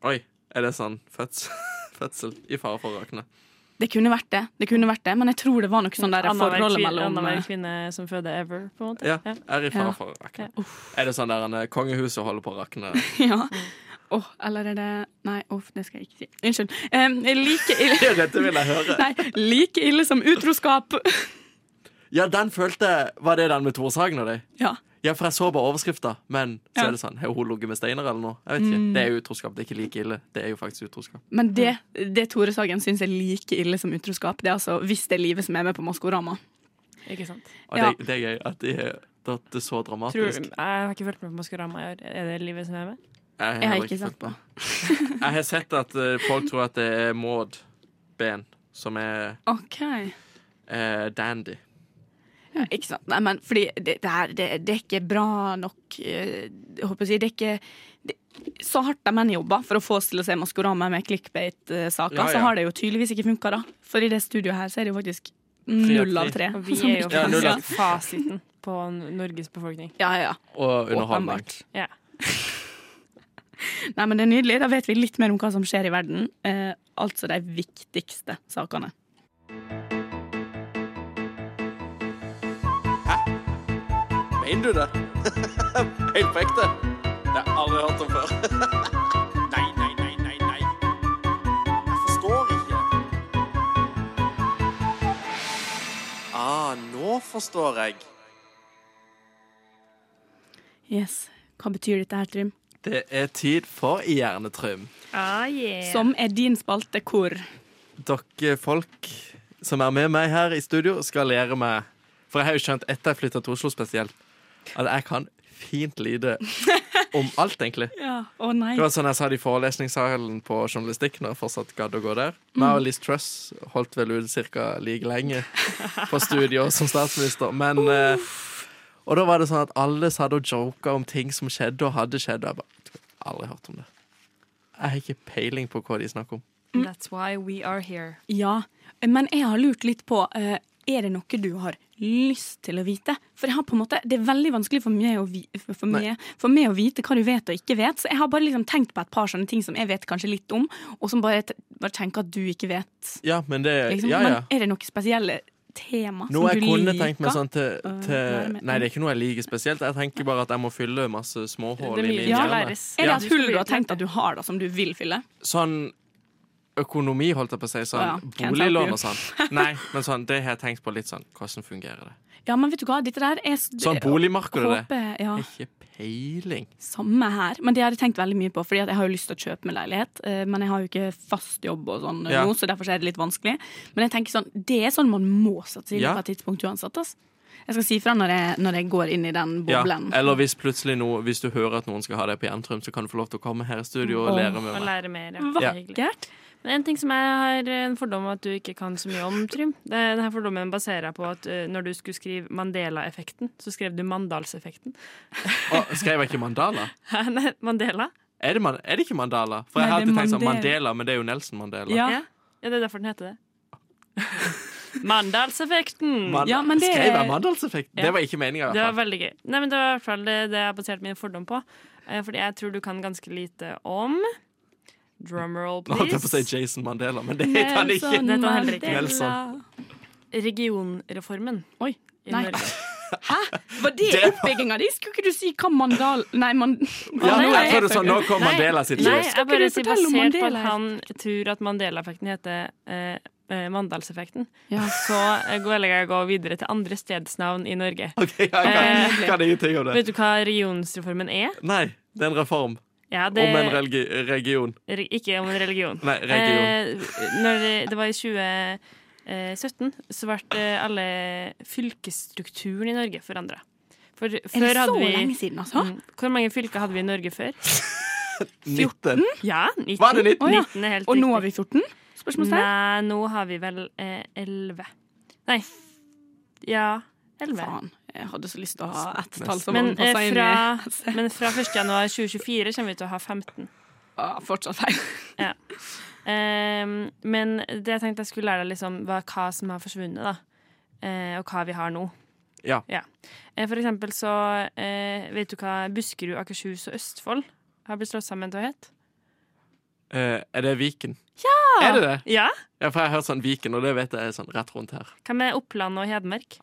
Oi, er det sånn fødsel, fødsel i fare for å rakne?
Det kunne vært det, det kunne vært det men jeg tror det var noe sånn der
Annenhver
forholdet
kvi-
mellom eh,
annenhver kvinne som føder ever, på en måte.
Ja,
Ja.
er i fare
Ja.
for å rakne. Er det sånn der en kongehuset holder på å rakne?
Ja. Åh, eller er det Nei, uff, det skal jeg ikke si. Unnskyld. Em, like ille
Dette vil jeg høre.
Nei, like ille som utroskap.
Ja, den følte Var det den med Tore Sagen og deg?
Ja.
Ja, for jeg så bare overskrifta, men
Ja.
så
Mm.
er det sånn Har hun ligget med Steinar eller noe? Jeg vet ikke. Det er jo utroskap. Det er ikke like ille. Det er jo faktisk utroskap.
Men det, det Tore Sagen syns er like ille som utroskap, det er altså hvis det er livet som er med på Maskorama.
Ikke sant?
Og
Ja.
det, det er gøy at de har tatt det så
Tror,
dramatisk.
jeg har ikke fulgt med på Maskorama i år. Er det livet som er med?
Jeg
Jeg
har
heller
ikke sett
fulgt med. Jeg har sett at eh, folk tror at det er Maud Ben som er
OK.
eh, dandy.
Ja, ikke sant. Nei, men fordi det, det, her, det, det er ikke bra nok eh, jeg håper å si, Det er ikke det, Så hardt de menn jobber for å få oss til å se Maskorama med clickbait-saker,
Ja, ja.
så har det jo tydeligvis ikke funka, da. For i det studioet her så er det jo faktisk
av
null av tre.
tre.
Og vi
som
er jo
ikke-
Ja, null
faktisk
av-
fasiten på Norges befolkning.
ja, ja, ja.
Og underholdning.
Åpenbart.
Ja.
Nei, men det er nydelig. Da vet vi litt mer om hva som skjer i verden. Eh, altså de viktigste sakene.
Mener du det? Helt på ekte? Det har jeg aldri hørt om før.
Nei, nei, nei, nei, nei. Jeg forstår ikke.
Ah, nå forstår jeg.
Yes. Hva betyr dette her, Trym?
Det er tid for Hjernetrym.
Som er din spalte hvor?
dere folk som er med meg her i studio, skal lære meg For jeg har jo skjønt etter jeg flytta til Oslo spesielt, at jeg kan fint lite om alt, egentlig.
Ja. Å nei.
Det var sånn jeg sa det i forelesningssalen på journalistikk når jeg fortsatt gadd å gå der. Meg og Liz Truss holdt vel ut ca. like lenge på studiet som statsminister, men eh, Og da var det sånn at alle satt og joka om ting som skjedde og hadde skjedd. Og jeg bare "Jeg har aldri hørt om det. Jeg har ikke peiling på hva de snakker om.
That's why we are here.
Ja, men jeg har lurt litt på eh, Er det noe du har lyst til å vite? For jeg har på en måte, det er veldig vanskelig for meg, å vi, for, meg, for meg å vite hva du vet og ikke vet. Så jeg har bare liksom tenkt på et par sånne ting som jeg vet kanskje litt om, og som bare, t- bare tenker at du ikke vet.
Ja, men det
Liksom.
Eh, Ja, ja.
Men er det noen spesielle tema som
Noe jeg
du
kunne
liker?
tenkt meg sånn til,
Øh, lære
til
mer.
Nei, det er ikke noe jeg liker spesielt. Jeg tenker bare at jeg må fylle masse småhull
Det
i min
er mye
skal
som
hjerne.
læres.
Er det
Ja.
et hull du har tenkt at du har, da, som du vil fylle?
Sånn økonomi, holdt jeg på å si.
Å ja,
Sånn
can't
boliglån
help
og sånn. Nei, men sånn, det har jeg tenkt på litt sånn. Hvordan fungerer det?
Ja, men vet du hva, dette der er s-
Sånn boligmarked og det.
Håper, ja.
Jeg har Ikke peiling.
Samme her, men det har jeg tenkt veldig mye på, fordi at jeg har jo lyst til å kjøpe meg leilighet. eh, Men jeg har jo ikke fast jobb og sånn
Ja.
nå, så derfor så er det litt vanskelig. Men jeg tenker sånn, det er sånn man må satse inn
Ja.
på et tidspunkt uansett. Ass. Jeg skal si fra når jeg, når jeg går inn i den
Ja.
boblen.
Eller hvis plutselig noe, hvis du hører at noen skal ha deg på Jerntrym, så kan du få lov til å komme her i studio og lære med meg.
Og lære mer. Ja. Det er hyggelig.
Vakkert.
Men en ting som jeg har en fordom om at du ikke kan så mye om, Trym det er Denne fordommen baserer jeg på at eh, når du skulle skrive Mandela-effekten, så skrev du Mandalseffekten.
Å, skrev jeg ikke Mandala?
Hæ, Nei, Mandela?
Er det, man, er det ikke Mandala? For jeg
Nei,
har
det er
alltid tenkt sånn
Mandela.
Mandela, men det er jo Nelson Mandela.
Ja.
Ja. ja, det er derfor den heter det. Mandalseffekten!
Man,
Ja, men det-
Skrev jeg Mandalseffekten?
Ja.
Det var ikke meninga.
Det var veldig gøy. Nei, men Det var i hvert fall det, det jeg baserte min fordom på. Eh, Fordi jeg tror du kan ganske lite om Drumroll,
Nå holdt jeg på å si
please.
Jason Mandela, men det heter han
sånn
ikke.
Nelson. Det tar heller ikke.
Mandela.
Nelson.
Regionreformen
Oi,
i
nei.
Norge.
Hæ? Var det,
Det var-
oppbygginga di? Skulle ikke du si hva mandal... Nei, man...
Ja, nå
nei,
tror du sånn, nå kom Mandela sitt
Nei,
lys.
Skal
jeg
ikke
bare
du
sier
fortelle om
basert på at
Mandela?
han tror at Mandela-effekten heter eh, eh, Mandalseffekten.
Ja.
Så eh, går jeg gå videre til andre stedsnavn i Norge.
Ok, jeg kan,
Eh,
jeg kan ingenting om det.
Vet du hva regionsreformen er?
Nei, det er en reform
Ja, det,
om en religi region.
re ikke om en religion.
Nei, region.
Eh, når det var i 2017, så ble eh, alle fylkesstrukturen i Norge forandra. For,
Er det
før
så
hadde vi
lenge siden, altså?
Mm, Hvor mange fylker hadde vi i Norge før?
19.
Ja, 19.
Var det 19?
Å, ja.
19 er helt
Og nå
riktig.
er vi 14? Spørsmålstegn?
Nei, nå har vi vel eh, 11. Nei. Ja, 11.
Faen. Jeg hadde så lyst til å ha ett tall som
Men, eh,
passa inn i
fra, men fra 1. januar 2024 kommer vi til å ha 15.
ah, Fortsatt feil.
Ehm, men det jeg tenkte jeg skulle lære deg litt om, var hva som har forsvunnet, da. Eh, og hva vi har nå.
Ja.
Eh, for eksempel så eh, Vet du hva Buskerud, Akershus og Østfold har blitt slått sammen til å hete?
Eh, er det Viken? Er det det?
Ja.
Ja, for jeg har hørt sånn Viken, og det vet jeg er sånn rett rundt her.
Hva med Oppland og Hedmark?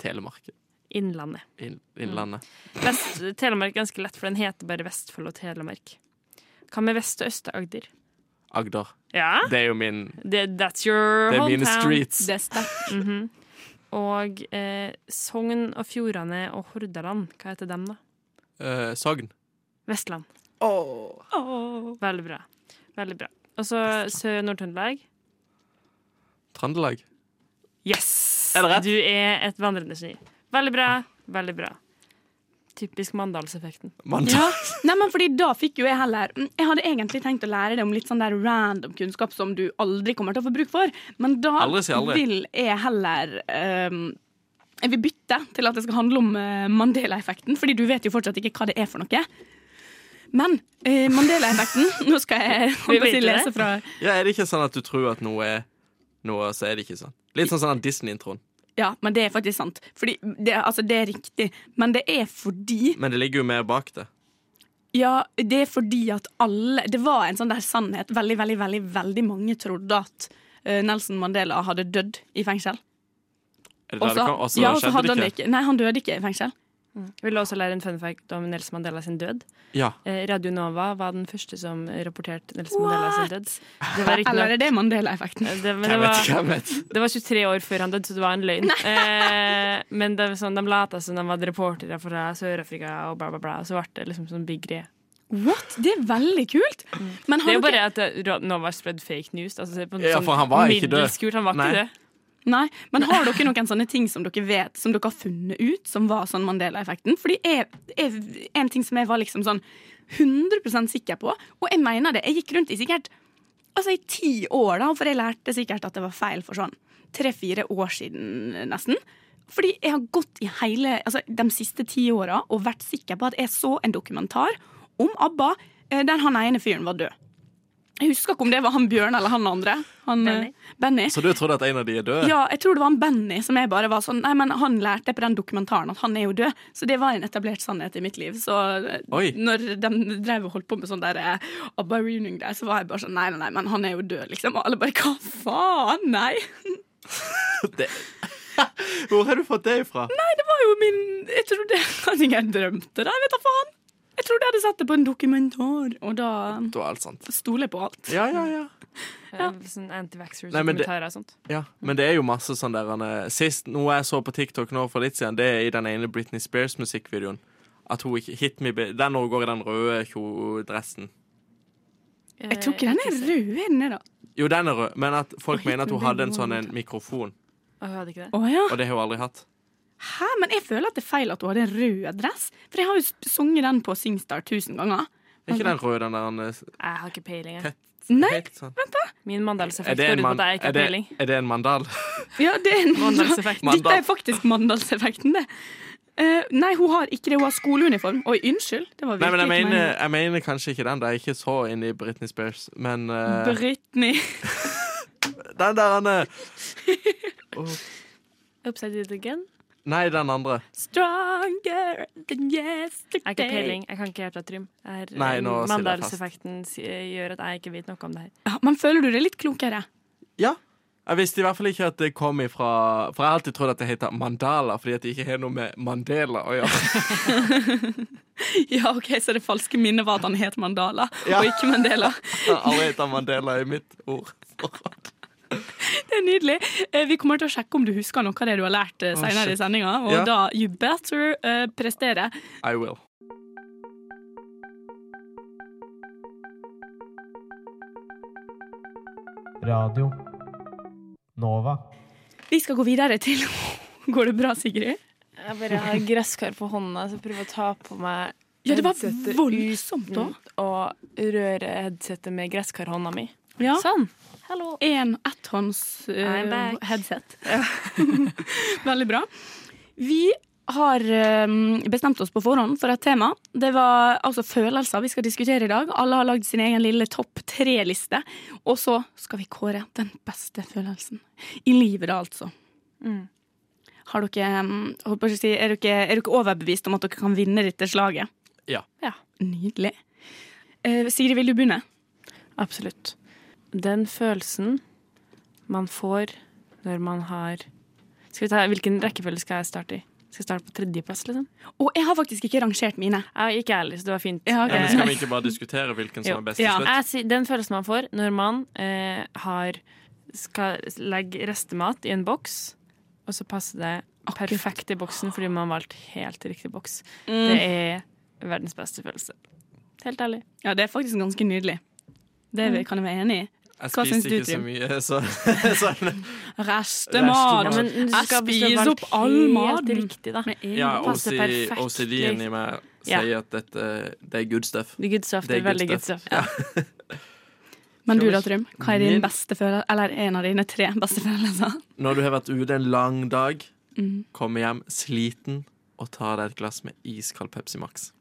Telemark.
Innlandet.
Inn- Innlandet.
Vest Telemark er ganske lett, for den heter bare Vestfold og Telemark. Hva med Vest- og Øst-Agder?
Agder.
Ja,
Det er jo min
det, that's your
Det er mine
hometown.
streets.
Det er sterkt.
Mhm. Og eh, Sogn og Fjordane og Hordaland, hva heter dem, da?
Eh, Sogn.
Vestland. Veldig bra. Veldig bra. Og så Sør- og Nord-Trøndelag.
Trøndelag.
Yes!
Er det rett?
Du er et vandrende geni. Veldig bra. Veldig bra. Typisk Mandalseffekten.
Mandal.
Ja. Nei, men fordi da fikk jo jeg heller mm, Jeg hadde egentlig tenkt å lære deg om litt sånn der random kunnskap som du aldri kommer til å få bruk for, men da
Aldri si aldri.
vil jeg heller ehm, Jeg vil bytte til at det skal handle om eh, Mandela-effekten, fordi du vet jo fortsatt ikke hva det er for noe. Men eh, Mandela-effekten Nå skal jeg holdt på å
vet
si,
det.
lese fra
Ja, er det ikke sånn at du tror at noe er noe, så er det ikke sånn? Litt sånn sånn den Disney-introen.
Ja, men det er faktisk sant. Fordi det, altså, det er riktig, men det er fordi
Men det ligger jo mer bak det.
Ja, det er fordi at alle Det var en sånn der sannhet. Veldig, veldig, veldig veldig mange trodde at eh, Nelson Mandela hadde dødd i fengsel.
Er det
Og
der det
så
kom? Og så
ja, og så
skjedde
hadde han
det
det ikke. Nei, han døde ikke i fengsel.
Vil du også lære en fun fact om Nelson Mandela sin død?
Ja.
Eh, Radio Nova var den første som rapporterte Nelson Mandela sin død. Det var ikke
Eller
nok,
er det Mandela-effekten?
det, men det
Jeg vet
var,
ikke, jeg vet.
det var 23 år før han døde, så det var en løgn. Eh, men det var sånn, de lata som de var reportere fra Sør-Afrika, og bla, bla, bla. Og så ble det liksom sånn big greie.
What? Det er veldig kult! Men
Det er
har
jo bare
dere,
at eh, Ra- Nova spread fake news. Altså, på en
Ja,
sånn
for han var ikke død.
middelskult, Han var
Nei.
ikke død.
nei, men har dere noen sånne ting som dere vet, som dere har funnet ut, som var sånn Mandela-effekten? Fordi jeg, jeg, en ting som jeg var liksom sånn 100 sikker på, og jeg mener det, jeg gikk rundt i sikkert altså i ti år, da, for jeg lærte sikkert at det var feil for sånn tre-fire år siden, nesten. Fordi jeg har gått i hele altså, de siste ti åra og vært sikker på at jeg så en dokumentar om ABBA eh, der han ene fyren var død. Jeg husker ikke om det var han Bjørn eller han andre. Han,
Benny.
eh, Benny.
Så du trodde at en av de er død?
Ja, jeg tror det var han Benny som jeg bare var sånn Nei, men han lærte på den dokumentaren at han er jo død. Så det var en etablert sannhet i mitt liv. Så eh,
Oi.
når de drev og holdt på med sånn der eh, abba reunion der, så var jeg bare sånn Nei, nei, nei, men han er jo død, liksom. Og alle bare Hva faen? Nei!
Det. Hvor har du fått det ifra?
Nei, det var jo min Jeg trodde Kanskje jeg drømte det, jeg vet da faen. Jeg trodde jeg hadde sett det på en dokumentar, og da
Det var alt sant.
stoler jeg på alt.
Ja, ja, ja.
Ja. Sånn anti-vaxxers
Nei, men det-
kommentarer og sånt.
Ja, men det er jo masse sånn der han er- Sist, noe jeg så på TikTok nå for litt siden, det er i den ene Britney Spears-musikkvideoen. At hun ikke Hit me ba- Den når hun går i den røde kjodressen.
Eh, Jeg tror
Eh,
ikke den er rød, er den det, da?
Jo, den er rød, men at folk
Og hit
mener at hun
me
hadde en
baby one
sånn
more
en mikrofon.
Å, jeg hadde ikke det.
Å ja.
Og det har hun aldri hatt.
Hæ, men jeg føler at det er feil at hun hadde en rød dress. For jeg har jo sp- sunget den på Singstar tusen ganger.
Er ikke den røde, den der han er s-
Jeg har ikke peiling. jeg.
Nei,
helt sånn.
Min
Er
mandalseffekt
det
går
en,
ut på
man,
at jeg ikke
er,
har peiling.
det, er det en mandal?
ja, det er en
Mandalseffekt.
Dette er faktisk Mandalseffekten, det. Eh, nei, hun har ikke det. Hun har skoleuniform. Oi, unnskyld. Det var
Nei, men
virkelig
jeg
ikke
mener, jeg mener kanskje ikke den. Det er ikke så inne i Britney Spears, men eh,
meningen. Britney.
Den der han er
Upside it again.
Nei, den andre.
Stronger than yesterday.
Jeg har ikke peiling. Jeg kan ikke helt av Trym. Jeg eh, er-
Nei, nå sitter jeg fast.
Mandalseffekten si- gjør at jeg ikke vet noe om det her.
Ja, men føler du deg litt klokere?
Ja. Jeg visste i hvert fall ikke at det kom ifra For jeg har alltid trodd at det heter mandala, fordi at det ikke har noe med Mandela å gjøre.
Ja, ok, Så det falske minnet var at han het Mandala
Ja.
og ikke Mandela.
Jeg har aldri heta Mandela i mitt ord.
Det er nydelig. Eh, Vi kommer til å sjekke om du husker noe av det du har lært eh, senere i sendinga. Og
Ja.
da you better eh, prestere.
I will.
Radio Nova.
Vi skal gå videre til Går det bra, Sigrid?
Jeg bare har gresskar på hånda, så jeg prøver å ta på meg
Ja, det var
headsetet
voldsomt da.
uten å røre headsetet med gresskarhånda mi.
Ja.
Sånn. Hallo.
En etthånds eh,
I'm back.
headset. Veldig bra. Vi har eh, bestemt oss på forhånd for et tema. Det var altså følelser vi skal diskutere i dag. Alle har lagd sin egen lille topp tre-liste. Og så skal vi kåre den beste følelsen i livet, da, altså. Har dere, mm, holdt på å si, er, dere, er dere overbevist om at dere kan vinne dette slaget?
Ja.
Nydelig. Eh, Sigrid, vil du begynne?
Absolutt. Den følelsen man får når man har Skal vi ta Hvilken rekkefølge skal jeg starte i? Skal jeg starte på tredjeplass, liksom?
Og jeg har faktisk ikke rangert mine.
Jeg, ikke jeg heller, så det var fint.
Ja, ok.
Ja, men skal vi ikke bare diskutere hvilken som
Eh,
er
Jo. Eh,
best til
Ja.
slutt?
Jeg sier- den følelsen man får når man eh, har skal legge restemat i en boks, og så passer det perfekt i boksen fordi man har valgt helt riktig boks.
Mm.
Det er verdens beste følelse. Helt ærlig.
Ja, det er faktisk ganske nydelig. Det vi- kan jeg være enig i.
Jeg
Hva syns
spiste
du,
ikke så
Trym?
mye, så, så
Restemat!
Ja, men du
Jeg
skal hvis du har
spiser
valgt
opp all maten.
Helt riktig, da.
ja,
Det passer
OC-
perfekt.
OCD-en i meg
Ja.
sier at dette det er good stuff.
Det er good stuff.
Det er
Det er
good
veldig good
stuff.
stuff. Ja.
Men du da, Trym? Hva er din
Min-
beste følelse? Eller en av dine tre beste følelser?
Når du har vært ute en lang dag,
Mhm.
kommer hjem sliten og tar deg et glass med iskald Pepsi Max.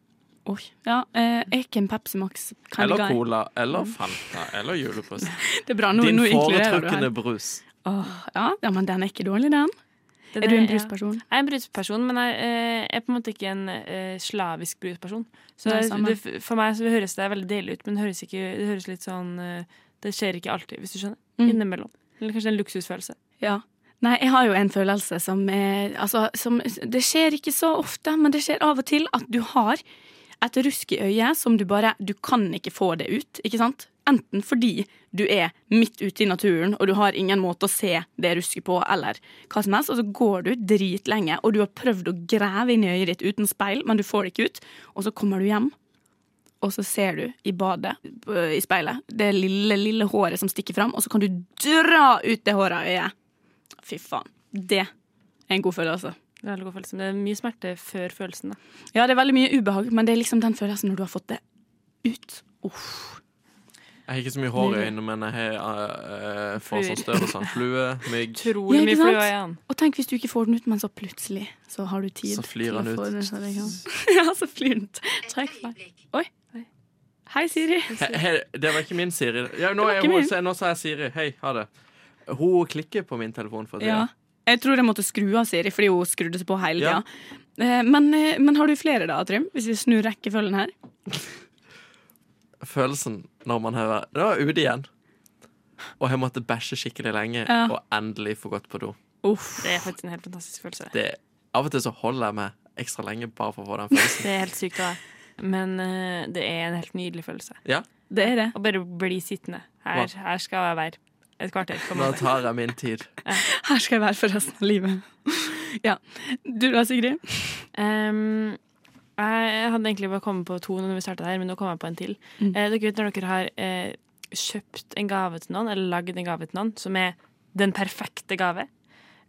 Oi. Ja, eh, jeg er ikke en Pepsi Max kind of
Eller
guy.
Cola, eller
Mhm.
Fanta, eller julebrus.
Det er bra, nå,
Din
nå inkluderer du
foretrukne
her.
brus.
Åh, ja. ja, men den er ikke dårlig, den. Er du en brusperson?
Jeg er en brusperson, men jeg eh, er på en måte ikke en eh, slavisk brusperson. Så
Nei,
det,
samme.
det, for meg så høres det veldig deilig ut, men det høres, ikke, det høres litt sånn eh, Det skjer ikke alltid, hvis du skjønner.
Mm.
Innimellom. Eller kanskje en luksusfølelse.
Ja. Nei, jeg har jo en følelse som er Altså, som Det skjer ikke så ofte, men det skjer av og til at du har et rusk i øyet som du bare Du kan ikke få det ut, ikke sant? Enten fordi du er midt ute i naturen, og du har ingen måte å se det rusket på, eller hva som helst, og så går du dritlenge, og du har prøvd å grave inn i øyet ditt uten speil, men du får det ikke ut, og så kommer du hjem, og så ser du i badet, øh, i speilet, det lille, lille håret som stikker fram, og så kan du dra ut det håret av øyet. Fy faen. Det er en god følelse.
Det er, en veldig god følelse, men det er mye smerte før følelsen. Da.
Ja, det er veldig mye ubehag, men det er liksom den følelsen når du har fått det ut. Uff.
Jeg har ikke så mye hår i øynene, men jeg har eh, eh, får sånn støv og sånn. Flue, mygg.
Utrolig
Ja, ikke
mye
sant?
flua igjen.
Og tenk hvis du ikke får den ut, men så plutselig så har du tid.
Så flyr
til å
han
få
ut.
Den, så det kan. ja, så flyr den ut. Trekk meg. Oi. Hei, Siri.
He, he, det var ikke min Siri. Ja, nå,
var
er
ikke
hun,
min.
se, nå sa jeg Siri. Hei, ha det. Hun klikker på min telefon for tida.
Ja. Jeg tror jeg måtte skru av Siri, fordi hun skrudde seg på hele
Ja.
tida. Eh, Men, eh, men har du flere da, Trym? Hvis vi snur rekkefølgen her.
Følelsen når man hører Nå er jeg ute igjen. Og jeg måtte bæsje skikkelig lenge,
Ja.
og endelig få gått på do.
Uff.
Det er faktisk en helt fantastisk følelse.
Det, av og til så holder jeg meg ekstra lenge bare for å få den følelsen.
Det er helt sykt av deg. Men eh, det er en helt nydelig følelse.
Ja,
Det er det.
Å bare bli sittende. Her,
Hva?
her skal jeg være et kvarter. på en
nå
måte.
tar jeg min tid.
Her skal jeg være for resten av livet. ja. Du da, Sigrid?
Ehm, jeg hadde egentlig bare kommet på to når vi startet her, men nå kom jeg på en til.
Mm.
Eh, dere vet når dere har eh, kjøpt en gave til noen, eller lagd en gave til noen, som er den perfekte gave,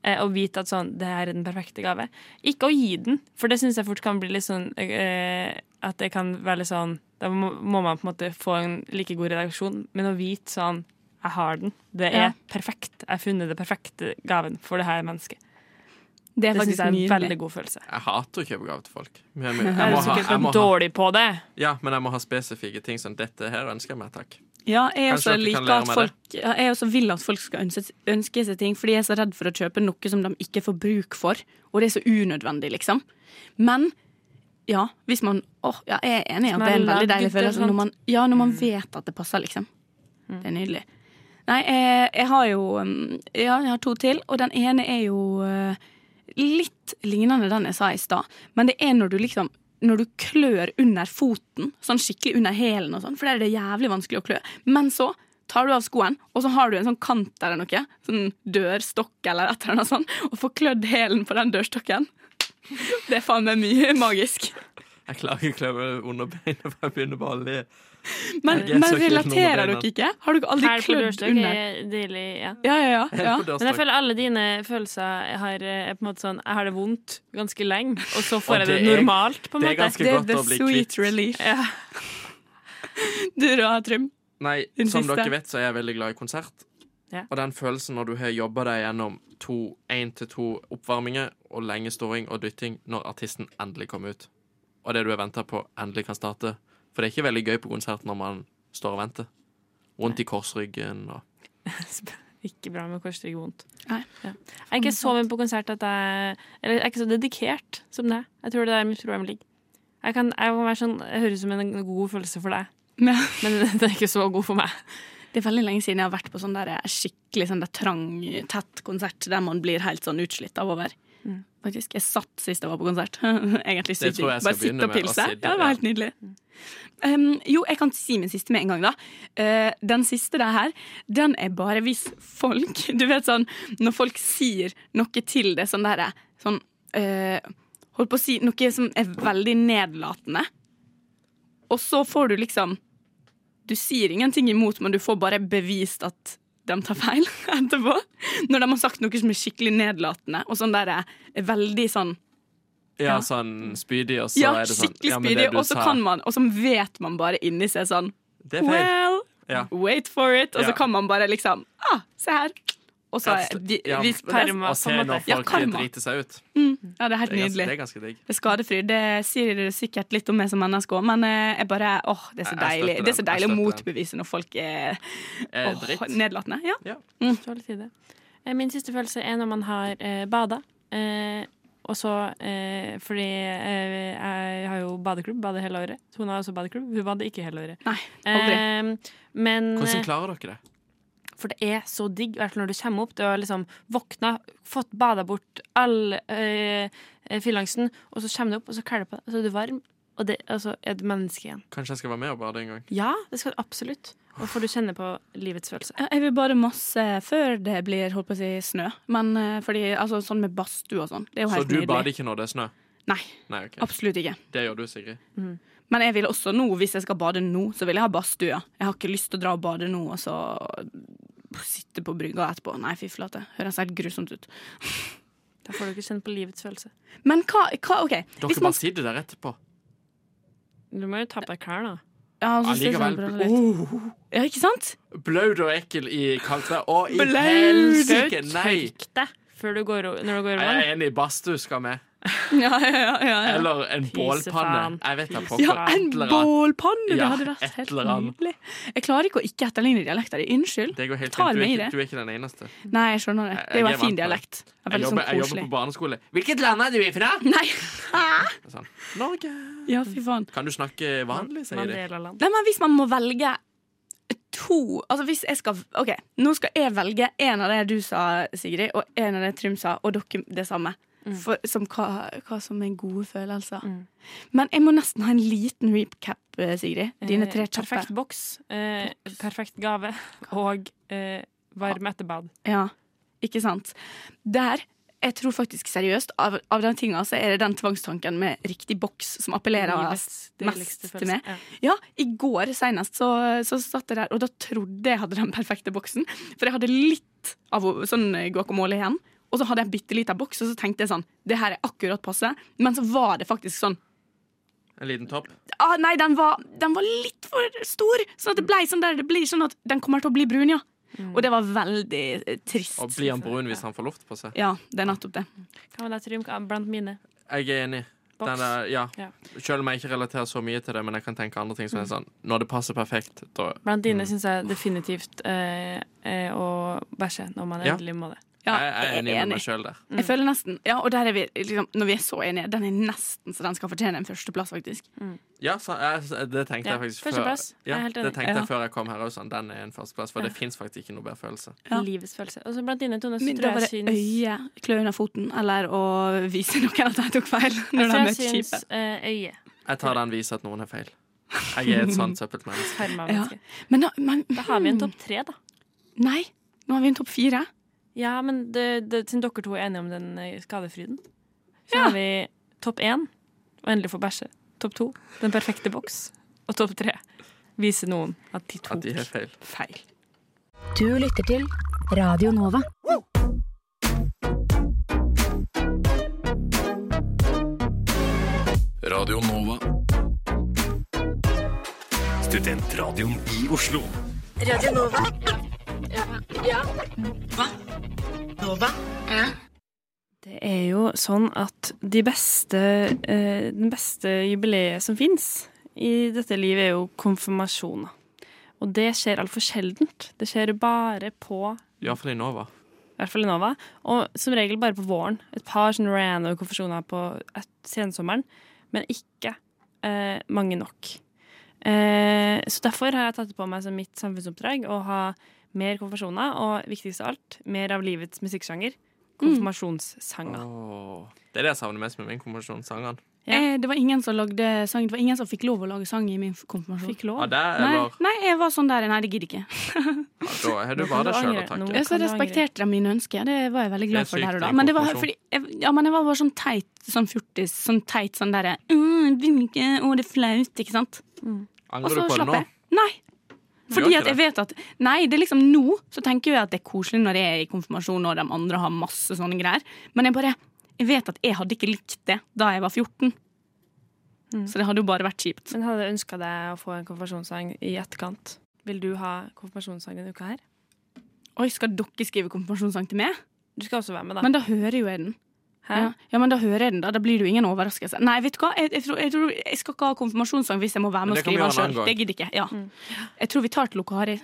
eh, og vite at sånn, det her er den perfekte gave. Ikke å gi den, for det syns jeg fort kan bli litt sånn eh, At det kan være litt sånn Da må, må man på en måte få en like god redaksjon, men å vite sånn jeg har den. Det
Ja.
er perfekt. Jeg har funnet den perfekte gaven for det her mennesket.
Det
Det
er
syns
faktisk
jeg er en
nydelig.
veldig god følelse.
Jeg hater å kjøpe gave til folk. Jeg, jeg,
Jeg
må
er
ha,
sikkert
sånn
jeg, må ha,
dårlig på det.
ja, men jeg må ha spesifikke ting som dette her ønsker jeg meg, takk.
Ja, jeg
Kanskje
også
dere kan
liker
lære
at
meg
folk ja, Jeg også vil at folk skal ønske, ønske seg ting, fordi jeg er så redd for å kjøpe noe som de ikke får bruk for. Og det er så unødvendig, liksom. Men ja, hvis man åh, ja, jeg er enig i at
Som
det er
er
en veldig
lagd,
deilig
ikke
følelse
sant?
når man, ja, når man vet at det passer, liksom. Det er nydelig. Nei, jeg, jeg har jo um, Ja, jeg har to til, og den ene er jo eh, litt lignende den jeg sa i stad, men det er når du liksom når du klør under foten, sånn skikkelig under hælen, og sånn, for der er det jævlig vanskelig å klø. Men så tar du av skoen, og så har du en sånn kant eller noe, sånn dørstokk eller et eller annet sånt, og får klødd hælen på den dørstokken. Det er faen meg mye magisk.
Jeg klarer ikke å klø underbeinet, for jeg begynner bare å le.
Men,
Jeg er
men
så ikke
relaterer
noen
dere ikke? Har dere aldri
Her på
klødd
dørstokk
under?
er deilig, ja.
Ja, ja, ja. ja.
På
Men jeg
dørstokken.
føler alle dine følelser jeg har, eh, er på en måte sånn Jeg har det vondt ganske lenge, og så
Og
får jeg det
det er-
normalt, på en
det er
måte.
ganske
Det er
godt
the
å bli
sweet
kvitt.
relief.
Ja.
Du da, Trym?
Nei,
Den
som
siste.
dere vet, så er jeg veldig glad i konsert.
Ja.
Og den følelsen når du har jobba deg gjennom to, én til to oppvarminger og lenge ståing og dytting når artisten endelig kommer ut, og det du har venta på, endelig kan starte. For det er ikke veldig gøy på konsert når man står og venter. Vondt i korsryggen og
Ikke bra med korsrygg vondt.
Nei.
Ja. Jeg er ikke så mye på konsert at jeg Eller jeg er ikke så dedikert som det. Jeg tror det er der mitt problem ligger. Jeg kan, jeg kan være sånn, jeg høres ut som en god følelse for deg,
Men,
men den er ikke så god for meg.
det er veldig lenge siden jeg har vært på sånn der skikkelig sånn der trang, tett konsert der man blir helt sånn utslitt av å være. Faktisk, Jeg satt sist jeg var på konsert. Egentlig
Det
sykt
tror
digg.
jeg skal
Bare sitte
begynne
og
med, å
pilse.
sitte,
Ja, det
ja.
var helt nydelig. Um, jo, jeg kan si min siste med en gang, da. Eh, den siste der her, den er bare hvis folk Du vet sånn når folk sier noe til det sånn derre sånn eh, Holdt på å si noe som er veldig nedlatende, og så får du liksom Du sier ingenting imot, men du får bare bevist at de tar feil etterpå. Når de har sagt noe som er skikkelig nedlatende, og sånn derre veldig sånn
Ja, sånn spydig, og så
ja,
er det sånn
skikkelig
ja, men det
spydig,
du
og så
sa,
kan man, og så vet man bare inni seg sånn
Det er feil.
Well,
Ja.
wait for it. Og så
Ja.
kan man bare liksom Ah, se her. Og så
Ja,
vi,
ja,
vis på det.
karma.
Og se
på en
når
måte.
Ja,
folk
karma.
driter seg ut.
Ja, det er helt
Det er ganske, det
nydelig.
er ganske digg.
Det er skadefri. Det sier dere sikkert litt om meg som menneske òg, men eh, jeg bare åh, det er så
Jeg- jeg
deilig
støtter
Det er så
den. Jeg
deilig å
støtter den.
motbevise når folk er
Eh,
åh,
dritt.
nedlatende. Ja.
Dårlig tid, det. Eh, Min siste følelse er når man har eh, bada. Eh, og så eh, Fordi eh, jeg har jo badeklubb, bader hele året. Så hun har også badeklubb. Hun bader ikke hele året.
Nei, aldri.
Eh, men
Hvordan klarer dere det?
For det er så digg, i hvert fall når du kommer opp. Du har liksom våkna, fått bada bort all eh, fillangsten, og så kommer du opp, og så kler du på deg, og så er du varm, og, det, og så er du menneske igjen.
Kanskje jeg skal være med og bade en gang?
Ja, Ah, det skal du absolutt. Og får du kjenne på livets følelse.
Ja, Jeg vil bare masse før det blir holdt på å si snø. Men eh, fordi, altså, sånn med badstue og sånn, det er jo
Så
helt
du
nydelig.
bader ikke når det er snø?
Nei,
Nei, ok.
absolutt ikke.
Det gjør du, Sigrid.
Men jeg vil også nå, hvis jeg skal bade nå, så vil jeg ha badstue. Jeg har ikke lyst til å dra og bade nå, og så sitte på brygga etterpå. Nei, fy flate. Høres helt grusomt ut.
Da får du ikke kjenne på livets følelse.
Men hva, hva OK.
Dere
Hvis
bare
man
sitter der etterpå.
Du må jo ta på deg klærne.
ja, så sier jeg sånn,
Allikevel.
brøler litt. ja, ikke sant?
Blaud og ekkel i kaldt vær. Å, i
Blaud!
helsike! Nei!
Tørk deg før du går, o- når du
Jeg
går
er
over.
enig. Badstue skal med.
Ja, ja, ja. ja, ja.
Eller en bålpanne.
faen.
Jeg vet da pokker.
ja en
Et eller annet.
bålpanne! Det
Ja,
hadde vært
et
helt
eller annet.
nydelig. Jeg klarer ikke å ikke etterligne dialekter. Unnskyld.
Det går helt
Tar
fint. Du
meg i
er,
det.
ikke, du er ikke den eneste.
Nei, jeg skjønner det.
Jeg-
Det er jo
jeg
en
er vant
fin
med det.
dialekt. Det er
Jeg
veldig
jobber,
sånn
jeg jobber
koselig.
på barneskole. Hvilket land er du ifra?
Nei!
Sånn. Norge.
Ja, fy faen.
Kan du snakke vanlig, sier de.
Mandela-land.
Nei, men hvis man må velge to Altså hvis jeg skal OK, nå skal jeg velge en av det du sa, Sigrid, og en av det Trym sa, og dere det samme. For, som hva, hva som er gode følelser. Men jeg må nesten ha en liten recap, eh, Sigrid. Dine tre
Eh,
kjappe.
Perfekt boks, eh, perfekt gave og eh, varm etterbad.
Ja, ikke sant. Der jeg tror faktisk seriøst, av, av den tinga så er det den tvangstanken med riktig boks som appellerer
Livets deiligste
mest til meg.
følelse. Ja.
Ja, i går senest så, så satt jeg der, og da trodde jeg hadde den perfekte boksen. For jeg hadde litt av sånn guacamole igjen, og så hadde jeg en bitte liten boks, og så tenkte jeg sånn Det her er akkurat passe. Men så var det faktisk sånn
En liten topp.
ah, Nei, den var, den var litt for stor! Sånn at det ble sånn der det blir, sånn at den kommer til å bli brun, ja. Og det var veldig eh, trist.
Og blir han brun hvis han får luft på seg?
Ja, det er nettopp det.
Hva med deg, Trym? Blant mine.
Jeg er enig.
Boks.
Den er, ja.
Ja.
Selv om jeg ikke relaterer så mye til det, men jeg kan tenke andre ting som er sånn Når det passer perfekt, da Mm.
Blant dine syns jeg definitivt eh, eh, å bæsje når man
Ja.
endelig må det.
Ja,
jeg er enig med meg sjøl der.
Jeg føler nesten, ja, og der er vi, liksom, Når vi er så enige, den er nesten så den skal fortjene en førsteplass, faktisk.
Ja, så, jeg, det tenkte
Ja,
jeg faktisk
førsteplass. Jeg er
Ja,
helt enig.
det tenkte
Ja.
jeg før jeg kom her også. sånn, Den er en førsteplass, for det fins faktisk ikke noe bedre følelse.
Ja.
Livets følelse. Og så blant dine, Tone, så
Men da
tror
var
jeg
det
syns
øye, klø under foten, eller å vise noen at jeg tok feil. Når de
Jeg
har
tror jeg
møtt
syns
skipet.
eh, øye.
Jeg tar den vise at noen er feil. Jeg er et sånt søppelmenneske.
Herma
Ja. Mm.
menneske.
Men, da- men
Da har vi en topp tre, da.
Nei, nå har vi en topp fire.
Ja, men det, det, siden dere to er enige om den eh, skadefryden, så
Ja.
har vi topp én, og endelig få bæsje. Topp to, den perfekte boks. Og topp tre, vise noen at de tok
At de er feil.
feil.
Du lytter til Radio Nova.
Radio Nova.
Studentradioen i Oslo.
Radio Nova. Ja. Nova.
Det er jo sånn at de beste, eh, den beste jubileet som fins i dette livet, er jo konfirmasjoner. Og det skjer altfor sjeldent. Det skjer bare på
Iallfall i Nova.
i hvert fall i Nova. Og som regel bare på våren. Et par sånne random konfesjoner på et, sensommeren, men ikke eh, mange nok. Eh, så derfor har jeg tatt det på meg som mitt samfunnsoppdrag å ha mer konfirmasjoner, og viktigst av alt, mer av livets
Mm.
musikksjanger. Konfirmasjonssanger.
Åh. Det er det jeg savner mest med min konfirmasjon. Sangene.
Ja.
Eh, det var ingen som lagde sang Det var ingen som fikk lov å lage sang i min konfirmasjon.
Fikk lov.
Ja, det er,
Nei,
eller,
nei, jeg var sånn der. Nei, det gidder ikke.
ja, da har du
Nå
bare
kan du
deg sjøl å
angre. Nå-
takke.
Jeg så
kan du
respekterte de mine ønsker. Det var jeg veldig
Det er
glad for. der og
sykt
da
i
Men det var
konfirmasjon.
fordi jeg, ja, men jeg var bare sånn teit sånn fjortis. Sånn teit sånn derre «Åh, jeg vil ikke, Å, det er flaut, ikke sant? Og
Angrer
så
du på det
slapp
nå?
jeg. Nei. Fordi
ikke
at jeg
det.
vet at Nei, det er liksom nå så tenker jeg at det er koselig når jeg er i konfirmasjon og de andre har masse sånne greier. Men jeg bare Jeg vet at jeg hadde ikke likt det da jeg var 14. Så det hadde jo bare vært kjipt.
Men hadde jeg ønska deg å få en konfirmasjonssang i etterkant. Vil du ha konfirmasjonssang denne uka her?
Oi, skal dere skrive konfirmasjonssang til meg?
Du skal også være med, da.
Men da hører jo jeg den.
Hæ?
Ja. ja, men da hører jeg den, da. Da blir det jo ingen overraskelse. Nei, vet du hva? Jeg, jeg, tror, jeg, tror, jeg skal ikke ha konfirmasjonssang hvis jeg må være
Men
med
det
og
kan vi
skrive den
gjøre en
sjøl.
annen gang.
Det gidder ikke. Ja. Jeg tror vi tar til Lokari,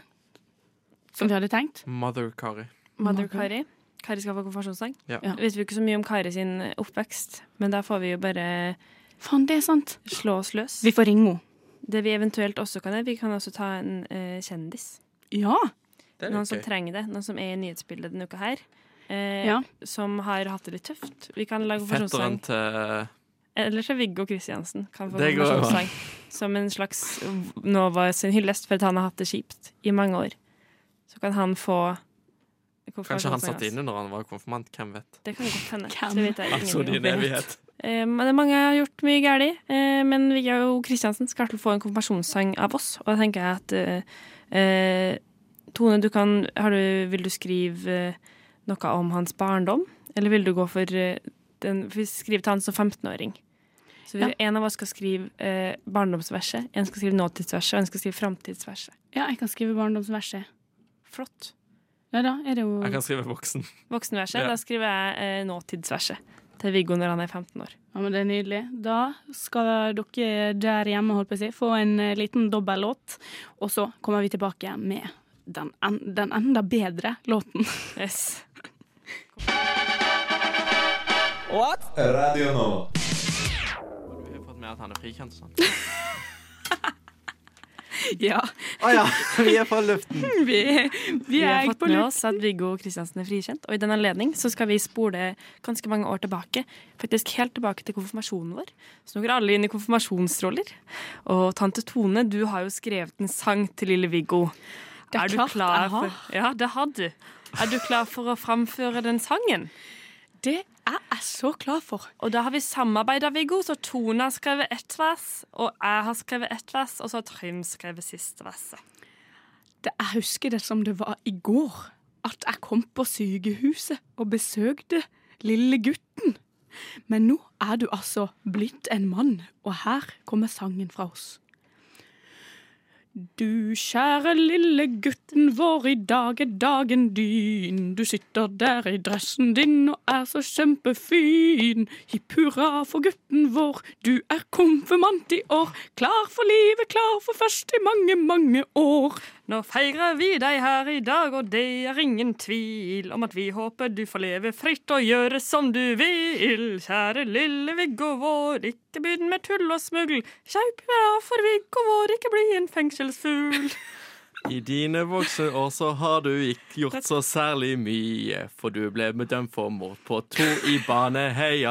som vi hadde tenkt.
Mother Kari.
Mother Kari. Kari skal få konfirmasjonssang.
Ja.
Ja.
Vet vi ikke så mye om Kari sin oppvekst, men da får vi jo bare
Faen, det er sant.
slå oss løs.
Vi får ringe henne.
Det vi eventuelt også kan gjøre, vi kan også ta en eh, kjendis.
Ja.
Det er
Noen
litt
som
gøy.
trenger det. Noen som er i nyhetsbildet denne uka her. eh,
Ja.
Som har hatt det litt tøft. Vi kan lage
Fetteren
konfirmasjonssang.
til
Eller så Viggo Kristiansen kan få
Det går jo.
konfirmasjonssang. Som en slags Nova sin hyllest, for at han har hatt det kjipt i mange år. Så kan han få
Kanskje han
konfirmasjonssang,
satt
altså.
inne når han var konfirmant. Hvem vet?
Det kan godt hende.
Hvem?
Det vet jeg
Altså
ingenting om.
din evighet.
Eh, men det er mange som har gjort mye galt, eh, men Vigga og Kristiansen skal til å få en konfirmasjonssang av oss. Og da tenker jeg at eh, eh, Tone, du kan, har du, vil du skrive eh, noe om hans barndom? Eller vil du gå for eh, den, for vi skriver til han som 15-åring? Så vi,
Ja.
En av oss skal skrive eh, barndomsverset, en skal skrive nåtidsverset, og en skal skrive framtidsverset.
ja, jeg kan skrive barndomsverset.
Flott.
Ja da er det jo
Mm.
Jeg kan skrive voksen.
Voksenverset,
Ja.
da skriver jeg eh, nåtidsverset til Viggo når han er 15 år.
Ja, men Det er nydelig. Da skal dere der hjemme holdt på å si, få en eh, liten dobbellåt, og så kommer vi tilbake med den, en, den enda bedre låten.
Yes.
Du har jo fått med at han er frikjent og sånn.
ja.
Å ja, vi er på luften.
Vi, vi
Vi har
er
fått
på
med
lurt.
oss at Viggo Kristiansen er frikjent, og i den anledning så skal vi spole ganske mange år tilbake. Faktisk helt tilbake til konfirmasjonen vår. Så nå går alle inn i konfirmasjonsroller. Og tante Tone, du har jo skrevet en sang til lille Viggo.
Det er
du
klart jeg har.
for, Ja, det har du. Er du klar for å framføre den sangen?
Det er jeg så klar for.
Og da har vi samarbeida, Viggo, så Tone har skrevet ett vers, og jeg har skrevet ett vers, og så har Trym skrevet siste verset.
Det, jeg husker det som det var i går, at jeg kom på sykehuset og besøkte lille gutten. Men nå er du altså blitt en mann, og her kommer sangen fra oss. Du kjære lille gutten vår, i dag er dagen din. Du sitter der i dressen din og er så kjempefin. Hipp hurra for gutten vår, du er konfirmant i år. Klar for livet, klar for først i mange, mange år.
Nå feirer vi deg her i dag, og det er ingen tvil om at vi håper du får leve fritt og gjøre som du vil. Kjære lille Viggo vår, ikke begynn med tull og smugl. Kjaup hurra for Viggo vår, ikke bli en fengselsfugl.
I dine voksne år så har du ikke gjort så særlig mye, for du ble dømt for mord på to i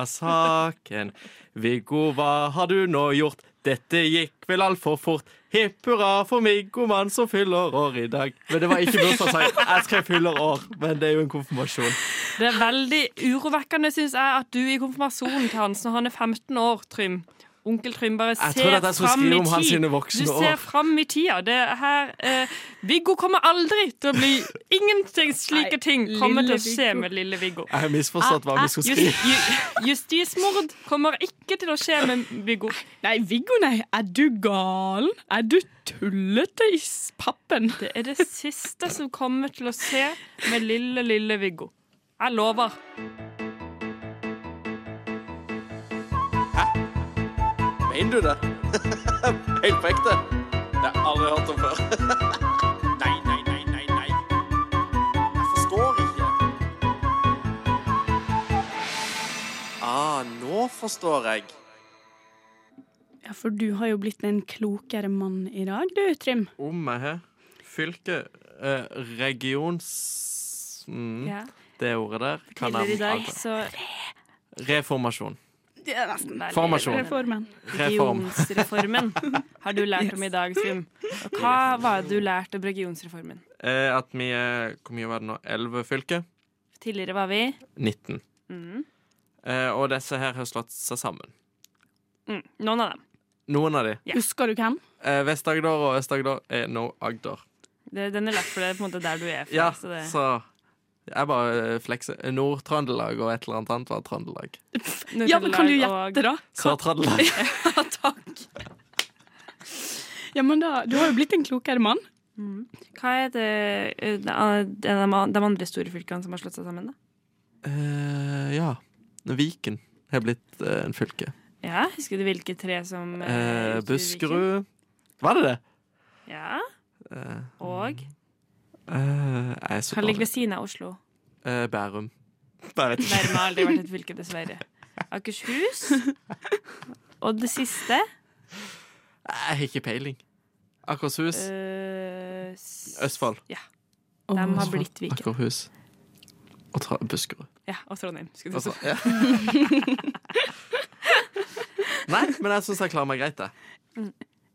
Baneheia-saken. Viggo, hva har du nå gjort? Dette gikk vel altfor fort. Hipp hurra for Viggo, mann som fyller år i dag. Men det var ikke bursdagssang. Jeg skrev 'fyller år', men det er jo en konfirmasjon.
Det er veldig urovekkende, syns jeg, at du i konfirmasjonen til Hans når han er 15 år, Trym Onkel Trym bare
Jeg
ser
trodde at jeg skulle
fram i
skrive om hans
tid.
sine voksne
Du ser
år.
fram i tida. Det er her eh, Viggo kommer aldri til å bli Ingenting slike
Nei,
ting kommer til å
lille
skje
Viggo.
med lille Viggo.
Jeg har misforstått hva vi skulle
Jus-
skrive.
ju- justismord kommer ikke til å skje med Viggo.
Nei, Viggo, nei. Er du gal? Er du tullete i pappen?
Det er det siste som kommer til å skje med lille, lille Viggo. Jeg lover.
Mener du det? Helt på ekte? Det har jeg aldri hørt om før. nei, nei, nei, nei, nei. Jeg forstår ikke. Ah, nå forstår jeg.
Ja, for du har jo blitt en klokere mann i dag, du, Trym.
Om jeg har fylke, eh, regions... Mm,
Ja.
Det ordet der kan
Tidligere i
jeg
dag,
alt.
så
Reformasjon.
Det er nesten
Veldig-
Formasjon.
Reformen.
Reform.
Regionsreformen har du lært om i dag, Trym. Og hva var det du lærte om regionsreformen?
Eh, at vi er Hvor mye var det nå? Elleve fylker?
Tidligere var vi
19. Eh, og disse her har slått seg sammen.
mm, Noen av dem.
Noen av de.
Ja.
Husker du hvem?
Eh, Vest-Agder og Øst-Agder er nå Agder.
Det, den er lett, for det er på en måte der du er fra.
Ja,
så det,
så jeg bare eh, flekser. Nord-Trøndelag og et eller annet annet var Trøndelag.
Ja, men kan du
Nord-Trøndelag
gjette, da?
Sør-Trøndelag.
Ja, takk. Ja, men da, Du har jo blitt en klokere mann.
og- Hva er det, eh, de de andre store fylkene som har slått seg sammen, da?
Eh, ja. Viken har blitt eh, en fylke.
Ja, Husker du hvilke tre som eh,
Eh,
utgjorde Viken?
Buskerud Var det det?
Ja,
Eh,
Og
eh, jeg er så
kan ligge
dårlig.
ved siden av Oslo.
Eh, Bærum. Eh, Bare et
Bærum har aldri vært et fylke, dessverre. Akershus. Og det siste
Jeg har ikke peiling. Akershus.
eh, s-
Østfold.
Ja. De har blitt Viken.
Akerhus. Og Tra- Buskerud.
Ja, og Trondheim. Skulle du
Altså,
si.
ja. Nei, men jeg syns jeg klarer meg greit, jeg.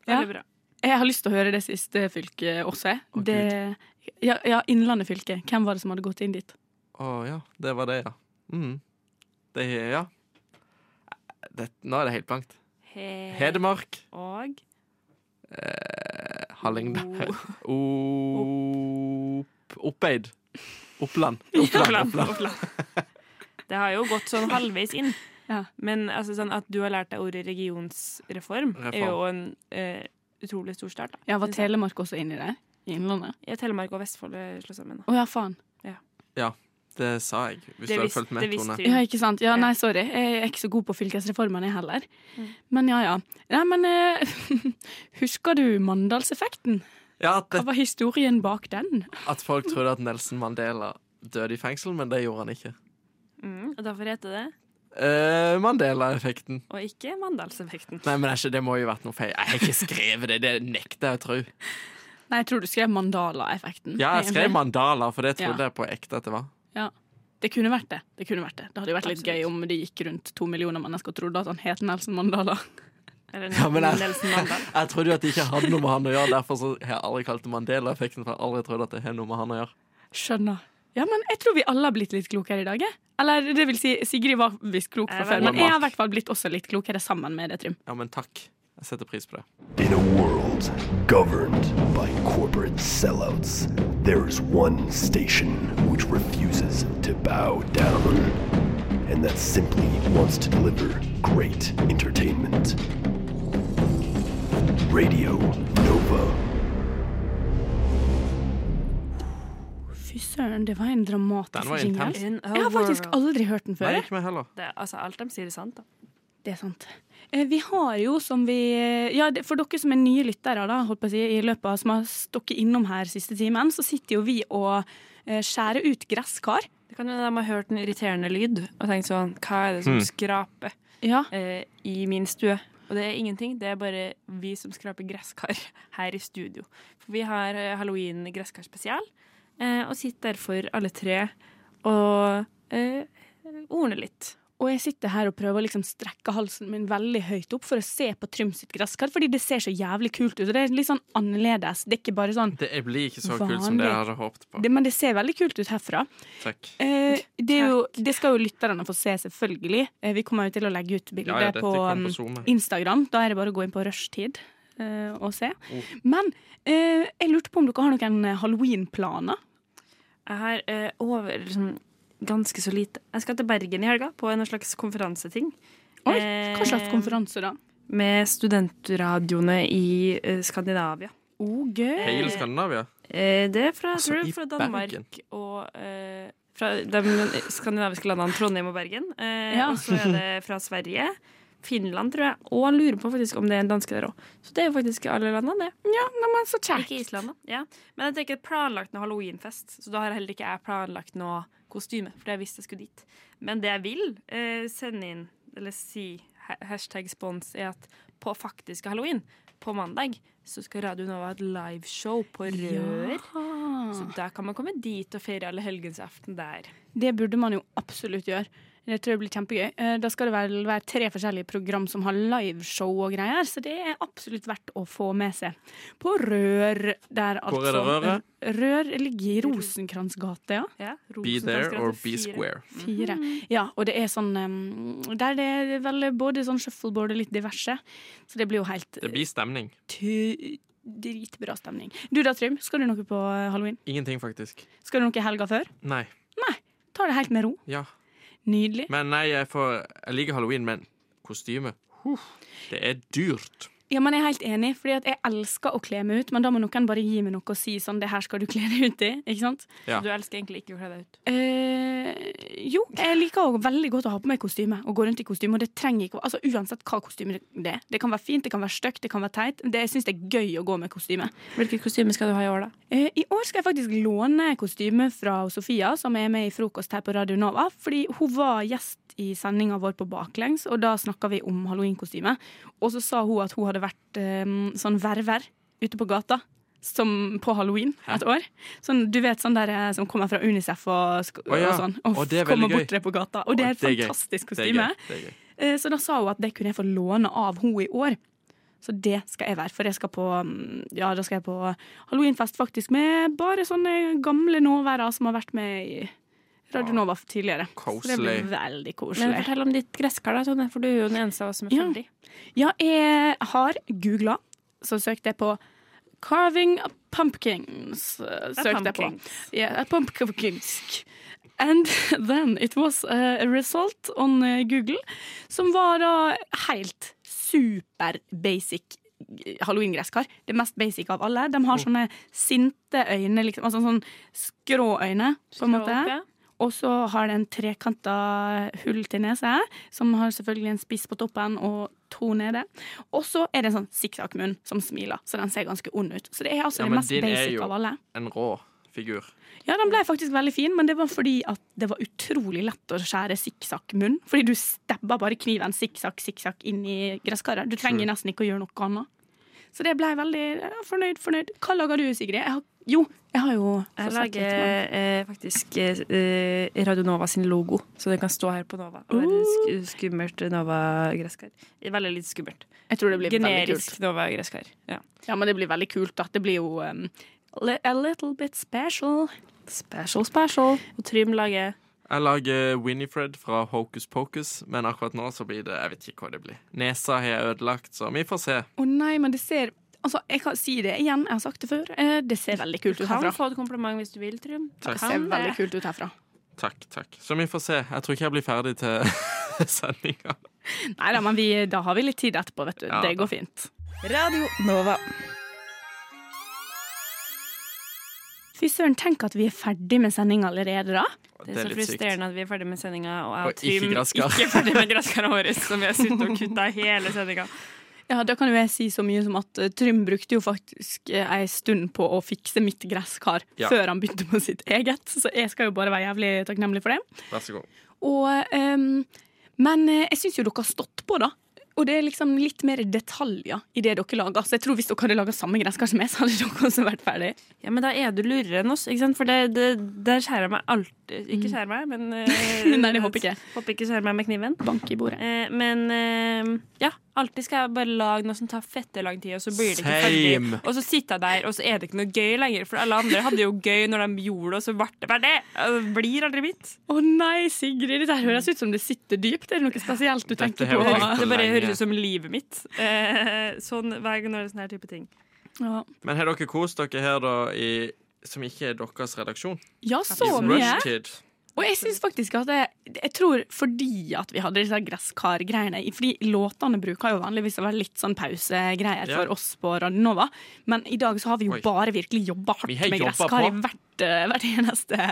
Ja.
Veldig bra.
Jeg har lyst til å høre det siste fylket også. jeg.
Å,
det, ja, ja, Innlandet fylke. Hvem var det som hadde gått inn dit?
Å ja, det var det, ja. Mm. Det ja. Eh, Det, nå er det helt blankt.
He-
Hedmark.
og
Eh, Hallingdal Op... Oppeid. Oppland. Oppland.
Oppland.
Oppland.
Det har jo gått sånn halvveis inn.
Ja.
Men altså, sånn at du har lært deg ordet regionsreform, er jo en eh, utrolig stor start. Da.
Ja, Var Telemark også inni der? I Innlandet?
Ja, Telemark og Vestfold eh, slår sammen. Da.
Å ja, faen.
Det sa jeg, hvis du
Det
hadde
visste-
fulgt med,
det visste
Tone.
du.
Ja, ikke sant? Ja, nei, sorry. Jeg er ikke så god på fylkesreformene, jeg heller. Men ja, ja. Nei, men eh, Husker du Mandalseffekten?
Ja, at,
Hva
det,
var historien bak den?
at folk trodde at Nelson Mandela døde i fengsel, men det gjorde han ikke.
Mm, og derfor heter det
Eh, Mandela-effekten.
Og ikke Mandalseffekten.
Nei, men det, er ikke, det må jo ha vært noe feil. Jeg har ikke skrevet det. Det nekter jeg å tro.
Nei, jeg tror du skrev Mandala-effekten.
Ja, jeg skrev
egentlig.
mandala, for det trodde
Ja.
jeg på ekte at det var.
Det kunne vært det. Det kunne vært det. Det hadde jo vært litt
Absolutt.
gøy om de gikk rundt to millioner mennesker og trodde at han het Nelson Mandala.
Eller
Ja, men jeg-
Nelson Mandal.
Jeg trodde jo at det ikke hadde noe med han å gjøre, derfor så har jeg aldri kalt det Mandela-effekten. For jeg har aldri trodd at det har noe med han å gjøre.
Skjønner. Ja, men jeg tror vi alle har blitt litt klokere i dag, jeg. Eller det vil si, Sigrid var visst klok fra
Jeg var
før, men
klok.
jeg har i hvert fall blitt også litt klokere sammen med det, Trym.
Ja, men takk. Jeg setter pris på det.
In a world governed by corporate sellouts, there is one station which refuses to bow down, and that simply wants to deliver great entertainment. Radio Nova.
Søren, det var en dramatisk
Den var
jingle.
intens.
Jeg har faktisk aldri hørt den før.
Nei,
jeg.
ikke meg heller.
det, altså, Alt de sier, er sant. da.
Det er sant. Eh, Vi har jo som vi eh, Ja, det- for dere som er nye lyttere, da, holdt på å si, i løpet av som har stokket innom her siste timen, så sitter jo vi og eh, skjærer ut gresskar.
Det kan hende de har hørt en irriterende lyd og tenkt sånn Hva er det
Hmm.
som skraper
Ja.
eh, i min stue? Og det er ingenting, det er bare vi som skraper gresskar her i studio. For vi har eh, halloween gresskarspesial, eh, og sitter derfor alle tre og eh, ordner litt.
Og jeg sitter her og prøver å liksom strekke halsen min veldig høyt opp for å se på Trym sitt gresskar, fordi det ser så jævlig kult ut. Og det er litt sånn annerledes. Det er ikke bare sånn
Det blir ikke så kult som det jeg hadde håpet på.
det, Men det ser veldig kult ut herfra.
Takk.
Eh, det, er jo, det skal jo lytterne få se, selvfølgelig. Eh, vi kommer jo til å legge ut bilde
Ja, ja, dette
på,
kommer
um,
på Zoom.
Instagram. Da er det bare å gå inn på rushtid eh, og se.
Oh.
Men eh, jeg lurte på om dere har noen eh, halloweenplaner?
Jeg har eh, over liksom, ganske så lite. Jeg skal til Bergen i helga på en slags konferanseting.
Oi, hva slags konferanse da?
Med studentradioene i eh, Skandinavia.
Oh, gøy.
Hele Skandinavia.
Eh, det er fra,
Altså,
tror jeg,
i
fra Danmark
Bergen?
og eh, Fra de skandinaviske landene Trondheim og Bergen. Eh,
Ja.
Og så er det fra Sverige. Finland, tror jeg. Og jeg lurer på faktisk om det er en danske der òg. Så det er jo faktisk alle landene, det.
Ja, nei, men så kjekt.
Ikke Island, da. Ja. Men jeg tenker planlagt noe halloweenfest, så da har heller ikke jeg planlagt noe kostyme. For jeg visste jeg skulle dit. Men det jeg vil eh, sende inn, eller si, ha- hashtag spons, er at på faktiske halloween, på mandag, så skal Radio Nova ha et liveshow på Rør. Så
Ja.
da kan man komme dit og feire alle helgensaften der.
Det burde man jo absolutt gjøre. Det tror jeg blir kjempegøy. Eh, Da skal det vel være tre forskjellige program som har liveshow og greier, så det er absolutt verdt å få med seg. På Rør, der altså
Hvor er det røret?
Rør ligger i Rosenkransgate, ja.
Ja,
Be there or be square.
Fire. Ja, og det er sånn um, Der det er vel både sånn shuffleboard og litt diverse. Så det blir jo helt
Det blir stemning.
ty- dritbra stemning. Du da, Trym, skal du noe på eh, halloween?
Ingenting, faktisk.
Skal du noe i helga før?
Nei.
Ta det helt med ro.
Ja.
Nydelig.
Men nei, jeg, får, jeg liker halloween, men kostyme huh, Det er dyrt.
Ja, men jeg er helt enig, fordi at jeg elsker å kle meg ut, men da må noen bare gi meg noe og si sånn, det her skal du kle deg ut i, ikke sant?
Ja.
Du elsker egentlig ikke å kle deg ut.
Eh, jo, jeg liker også veldig godt å ha på meg kostyme, og gå rundt i kostyme, og det trenger ikke, å- altså uansett hva kostyme det er. Det kan være fint, det kan være støkt, det kan være teit, det jeg synes det er gøy å gå med kostyme.
Hvilket kostyme skal du ha i år, da?
Eh, I år skal jeg faktisk låne kostyme fra Sofia, som er med i frokost her på Radio Nova. Fordi hun var gjest i sendinga vår på Baklengs, og da snakka vi om halloweenkostyme. Og så sa hun at hun hadde vært eh, sånn verver ute på gata. Som på halloween et år. Sånn, du vet sånn der eh, som kommer fra Unicef og, sk
Å ja,
og sånn. Og,
og det er veldig
kommer
gøy.
bort til deg på gata. Og det er
Og
et
gøy.
fantastisk
Det er
kostyme.
gøy. Det er gøy.
Eh, Så da sa hun at det kunne jeg få låne av henne i år. Så det skal jeg være, for jeg skal på, mm, ja, da skal jeg på halloweenfest faktisk med bare sånne gamle nåværere som har vært med i Radio Nova tidligere. Så det
Koselig.
blir veldig
Men
koselig.
Fortell om ditt gresskar, da, Tone, for du er jo den eneste av oss som er
Ja.
ferdig.
Ja, jeg har googla, så søkte jeg på 'Carving pumpkins'. eh, Søkte jeg på. Yeah, a pumpkins. And then it was a result on eh, Google som var da helt super basic eh, halloween-gresskar. Det mest basic av alle. De har
Mm.
sånne sinte øyne, liksom. Altså sånn skrå øyne, på en måte. Og så har det en trekanta hull til nese, som har selvfølgelig en spiss på toppen og to nede. Og så er det en sånn sikksakkmunn som smiler, så den ser ganske ond ut. Så det er altså
Ja,
det
men
mest
din er
basic
jo-
av alle.
En rå figur.
Ja, den ble faktisk veldig fin, men det var fordi at det var utrolig lett å skjære sikksakkmunn. Fordi du stabba bare kniven sikksakk, sikksakk inn i gresskaret. Du trenger
True.
nesten ikke å gjøre noe annet. Så det ble veldig ja, fornøyd, fornøyd. Hva lager du, Sigrid? Jeg har, jo, jeg har jo
Jeg
så sagt litt
lager
om den.
eh, faktisk eh, Radio Nova sin logo, så den kan stå her på Nova. Og
Uh.
være sk skummelt Nova-gresskar. Veldig litt skummelt.
Jeg tror det blir veldig kult.
Generisk Nova-gresskar. Ja.
Ja, men det blir veldig kult, da. Det blir jo um, li- a little bit special.
Special, special. Og Trym lager
Jeg lager Winifred fra Hocus Pocus, men akkurat nå så blir det Jeg vet ikke hva det blir. Nesa har jeg ødelagt, så vi får se.
Å nei, men det ser Altså, jeg kan si det igjen, jeg har sagt det før. Eh, det ser veldig kult
Du
ut
kan
herfra.
få et kompliment hvis du vil, Trym.
Takk.
Det ser
Kan
veldig
det.
kult ut herfra.
Takk, takk. Så vi får se. Jeg tror ikke jeg blir ferdig til sendinga.
Nei da, men vi, da har vi litt tid etterpå, vet du.
Ja,
det
da.
går fint.
Radio Nova.
Fy søren, tenk at vi er ferdig med sending allerede, da.
Det er så frustrerende at vi er ferdig med sendinga, og jeg
Og
og
ikke
Trym
gransker.
ikke er ferdig med gresskaret vårt, som vi har sittet og kutta hele sendinga.
Ja, Da kan jo jeg si så mye som at eh, Trym brukte jo faktisk eh, ei stund på å fikse mitt gresskar
Ja.
før han begynte på sitt eget, så jeg skal jo bare være jævlig takknemlig for det.
Vær så god.
Og, ehm, men eh, jeg syns jo dere har stått på, da. Og det er liksom litt mer detaljer i det dere lager. Så jeg tror hvis dere hadde laga samme gresskar som meg, så hadde dere også vært ferdig.
Ja, men da er du lurere enn oss, ikke sant? For det, det, der skjærer jeg meg alltid Ikke skjærer meg, men eh,
Mm. Nei, det håper ikke jeg.
Håper ikke skjærer meg med kniven.
Bank i bordet.
Eh, men eh, ja, alltid skal jeg bare lage noe som tar fette lang tid, og så blir det ikke
Same.
ferdig. Og så sitter jeg der, og så er det ikke noe gøy lenger. For alle andre hadde jo gøy når de gjorde det, og så ble det ferdig. Altså, Det blir aldri mitt.
Å nei, Sigrid, dette her høres ut som det sitter dypt. Er det noe spesielt du
Dette
tenker på?
her var tenkt.
Det
for
bare
lenge.
høres ut som livet mitt. Eh, sånn hver gang når det er sånne her type ting.
Ja.
Men har dere kost dere her, da, i, som ikke er deres redaksjon?
ja, så
I
mye.
Rushtid.
Og jeg syns faktisk at jeg, jeg tror fordi at vi hadde disse gresskargreiene Fordi låtene bruker jo vanligvis å være litt sånn pausegreier
Ja.
for oss på Radionova. Men i dag så har vi jo
Oi.
bare virkelig jobba hardt
Vi har
med
jobba
gresskar i
på.
hvert, eh, hvert eneste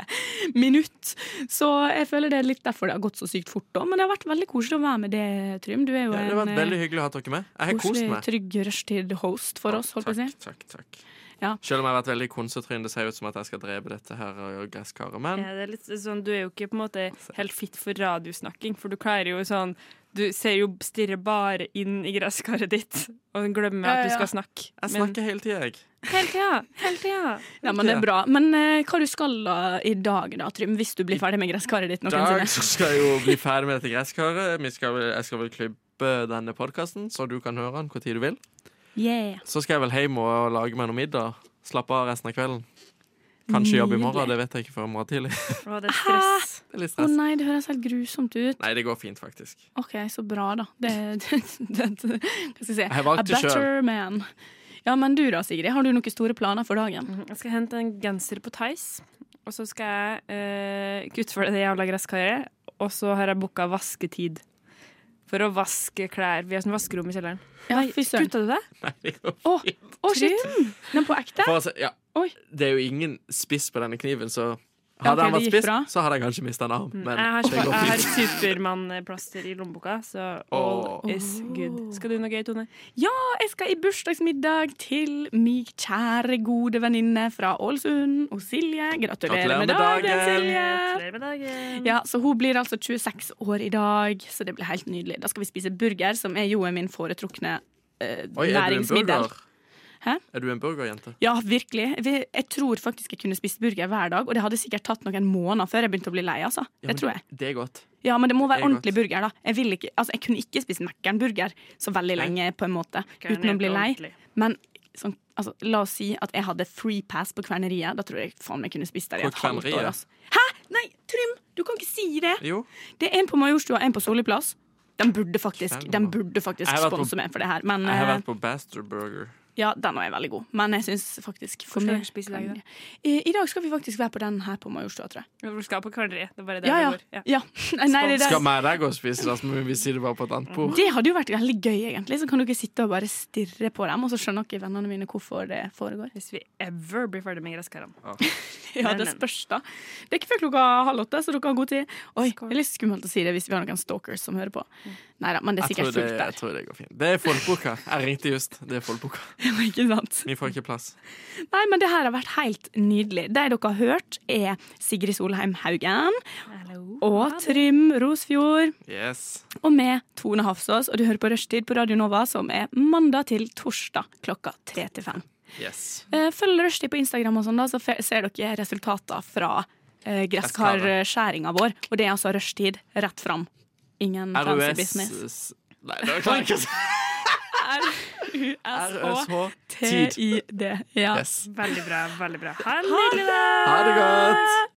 minutt. Så jeg føler det er litt derfor det har gått så sykt fort òg. Men det har vært veldig koselig å være med det, Trym. Du er jo
Ja, det har
en
vært veldig
eh,
hyggelig å ha dere med. Jeg har kost
koselig,
meg.
trygg rushtid-host for oss, holdt på å si.
Takk, takk, takk.
Ja.
Selv om jeg har vært veldig konsertryn, det ser ut som at jeg skal drepe dette her og gresskaret. Men
Ja, det er litt sånn, du er jo ikke på en måte helt fit for radiosnakking, for du klarer jo sånn Du ser jo stirrer bare inn i gresskaret ditt og glemmer
Ja,
at
ja.
du skal snakke.
jeg snakker hele tida, jeg.
hele tida! Hele tida!
Ja, men det er bra. Men eh, hva du skal da i dag da, Trym? Hvis du blir ferdig med gresskaret ditt
I dag
noensinne?
så skal jeg jo bli ferdig med dette gresskaret. Vi skal, vel- jeg skal vel klippe denne podkasten, så du kan høre den hvor tid du vil.
Yeah.
Så skal jeg vel hjem og lage meg noe middag. Slappe av resten av kvelden. Kanskje jobbe i morgen, det vet jeg ikke før i morgen tidlig.
Og det er stress.
Det er litt
Å
stress.
nei, det høres helt grusomt ut.
Nei, det går fint, faktisk.
OK, så bra, da. Det, det, det, det Hva skal jeg si?
Jeg valgte
A better man. Ja, men du da, Sigrid? Har du noen store planer for dagen?
Jeg skal hente en genser på Tice, og så skal jeg eh, kutte for det jævla gresskaret. Og så har jeg booka vasketid. For å vaske klær. Vi har sånn vaskerom i kjelleren.
Ja, fy søren.
Kutta du det?
Nei, det går
Å, å, shit! Men på ekte?
For altså, ja.
Oi.
Det er jo ingen spiss på denne kniven, så
Ja, ok,
hadde han vært
det gikk
spiss,
bra. Mm.
så hadde jeg kanskje mista en arm. Men
jeg har,
det går
jeg har
fint.
Supermann-plaster i lommeboka, så all
Åh.
is good. Skal du noe gøy, Tone?
Jeg skal i bursdagsmiddag til min kjære, gode venninne fra Ålesund, og Silje. Gratulerer med dagen, Silje!
Gratulerer med dagen.
Ja, så Hun blir altså 26 år i dag, så det blir helt nydelig. Da skal vi spise burger, som er jo min foretrukne eh,
Oi, er du en
næringsmiddel.
burger?
Hæ?
Er du en burgerjente?
Ja, virkelig. Vi- Jeg tror faktisk jeg kunne spist burger hver dag, og det hadde sikkert tatt noen måneder før jeg begynte å bli lei. altså.
Ja,
det
men
tror jeg.
Det er godt.
Ja, Men det må
det
være
er godt.
ordentlig burger. da. Jeg, vil ikke, altså, jeg kunne ikke spist Mækkern-burger så veldig
Nei.
lenge på en måte, uten å bli lei. Men sånn, altså, la oss si at jeg hadde free pass på kverneriet. Da tror jeg faen meg kunne spist der i
På
et halvt
kverneriet?
år. Altså. Hæ? Nei, Trym! Du kan ikke si det!
Jo.
Det er en på Majorstua, en på Solli plass. De burde faktisk,
Skjønner.
de burde faktisk
Jeg har vært på-
sponse meg for det her. Men
Jeg har
eh,
vært på Bastard Burger.
ja, den også er veldig god. Men jeg syns faktisk for
Hvor
mye
skal dere spise i dag, da?
kan- I, I dag skal vi faktisk være på den her på Majorstua, tror jeg.
Du skal på kverneriet. Det er bare der
Ja,
det
ja.
går. Ja.
ja. Nei, det, der.
Skal meg og deg gå og spise det, så må vi sitte bare på et annet bord?
det hadde jo vært veldig gøy, egentlig. Så kan dere sitte og bare stirre på dem, og så skjønner dere vennene mine hvorfor det foregår.
Hvis vi ever blir ferdig med gresskarene.
Ja,
Men,
det
men.
spørs, da. Det er ikke før klokka halv åtte, så dere har god tid. Oi, det er litt skummelt å si det hvis vi har noen stalkers som hører på.
Mm.
Nei da, men det er
Jeg tror
sikkert
det,
fullt
jeg
der.
tror det går fint. Det er fullbooka. Jeg ringte just. Det er fullbooka.
Ikke sant?
Vi får ikke plass.
Nei, men det her har vært helt nydelig. Det dere har hørt, er Sigrid Solheim Haugen og Trym Rosfjord.
Yes.
Og med Tone Hafsås, og du hører på Rushtid på Radio Nova, som er mandag til torsdag klokka tre til fem.
Yes.
Eh, Følg Rushtid på Instagram, og sånn da, så fe- ser dere resultater fra eh, gresskarskjæringa vår. Og det er altså rushtid rett fram. Ingen fancy
RUS
business.
s- Nei, det klarer jeg ikke å si. RSH-tid.
R-U-S-H-T-I-D. Ja.
Yes.
Veldig bra. veldig bra Ha en nydelig dag!
Ha det godt.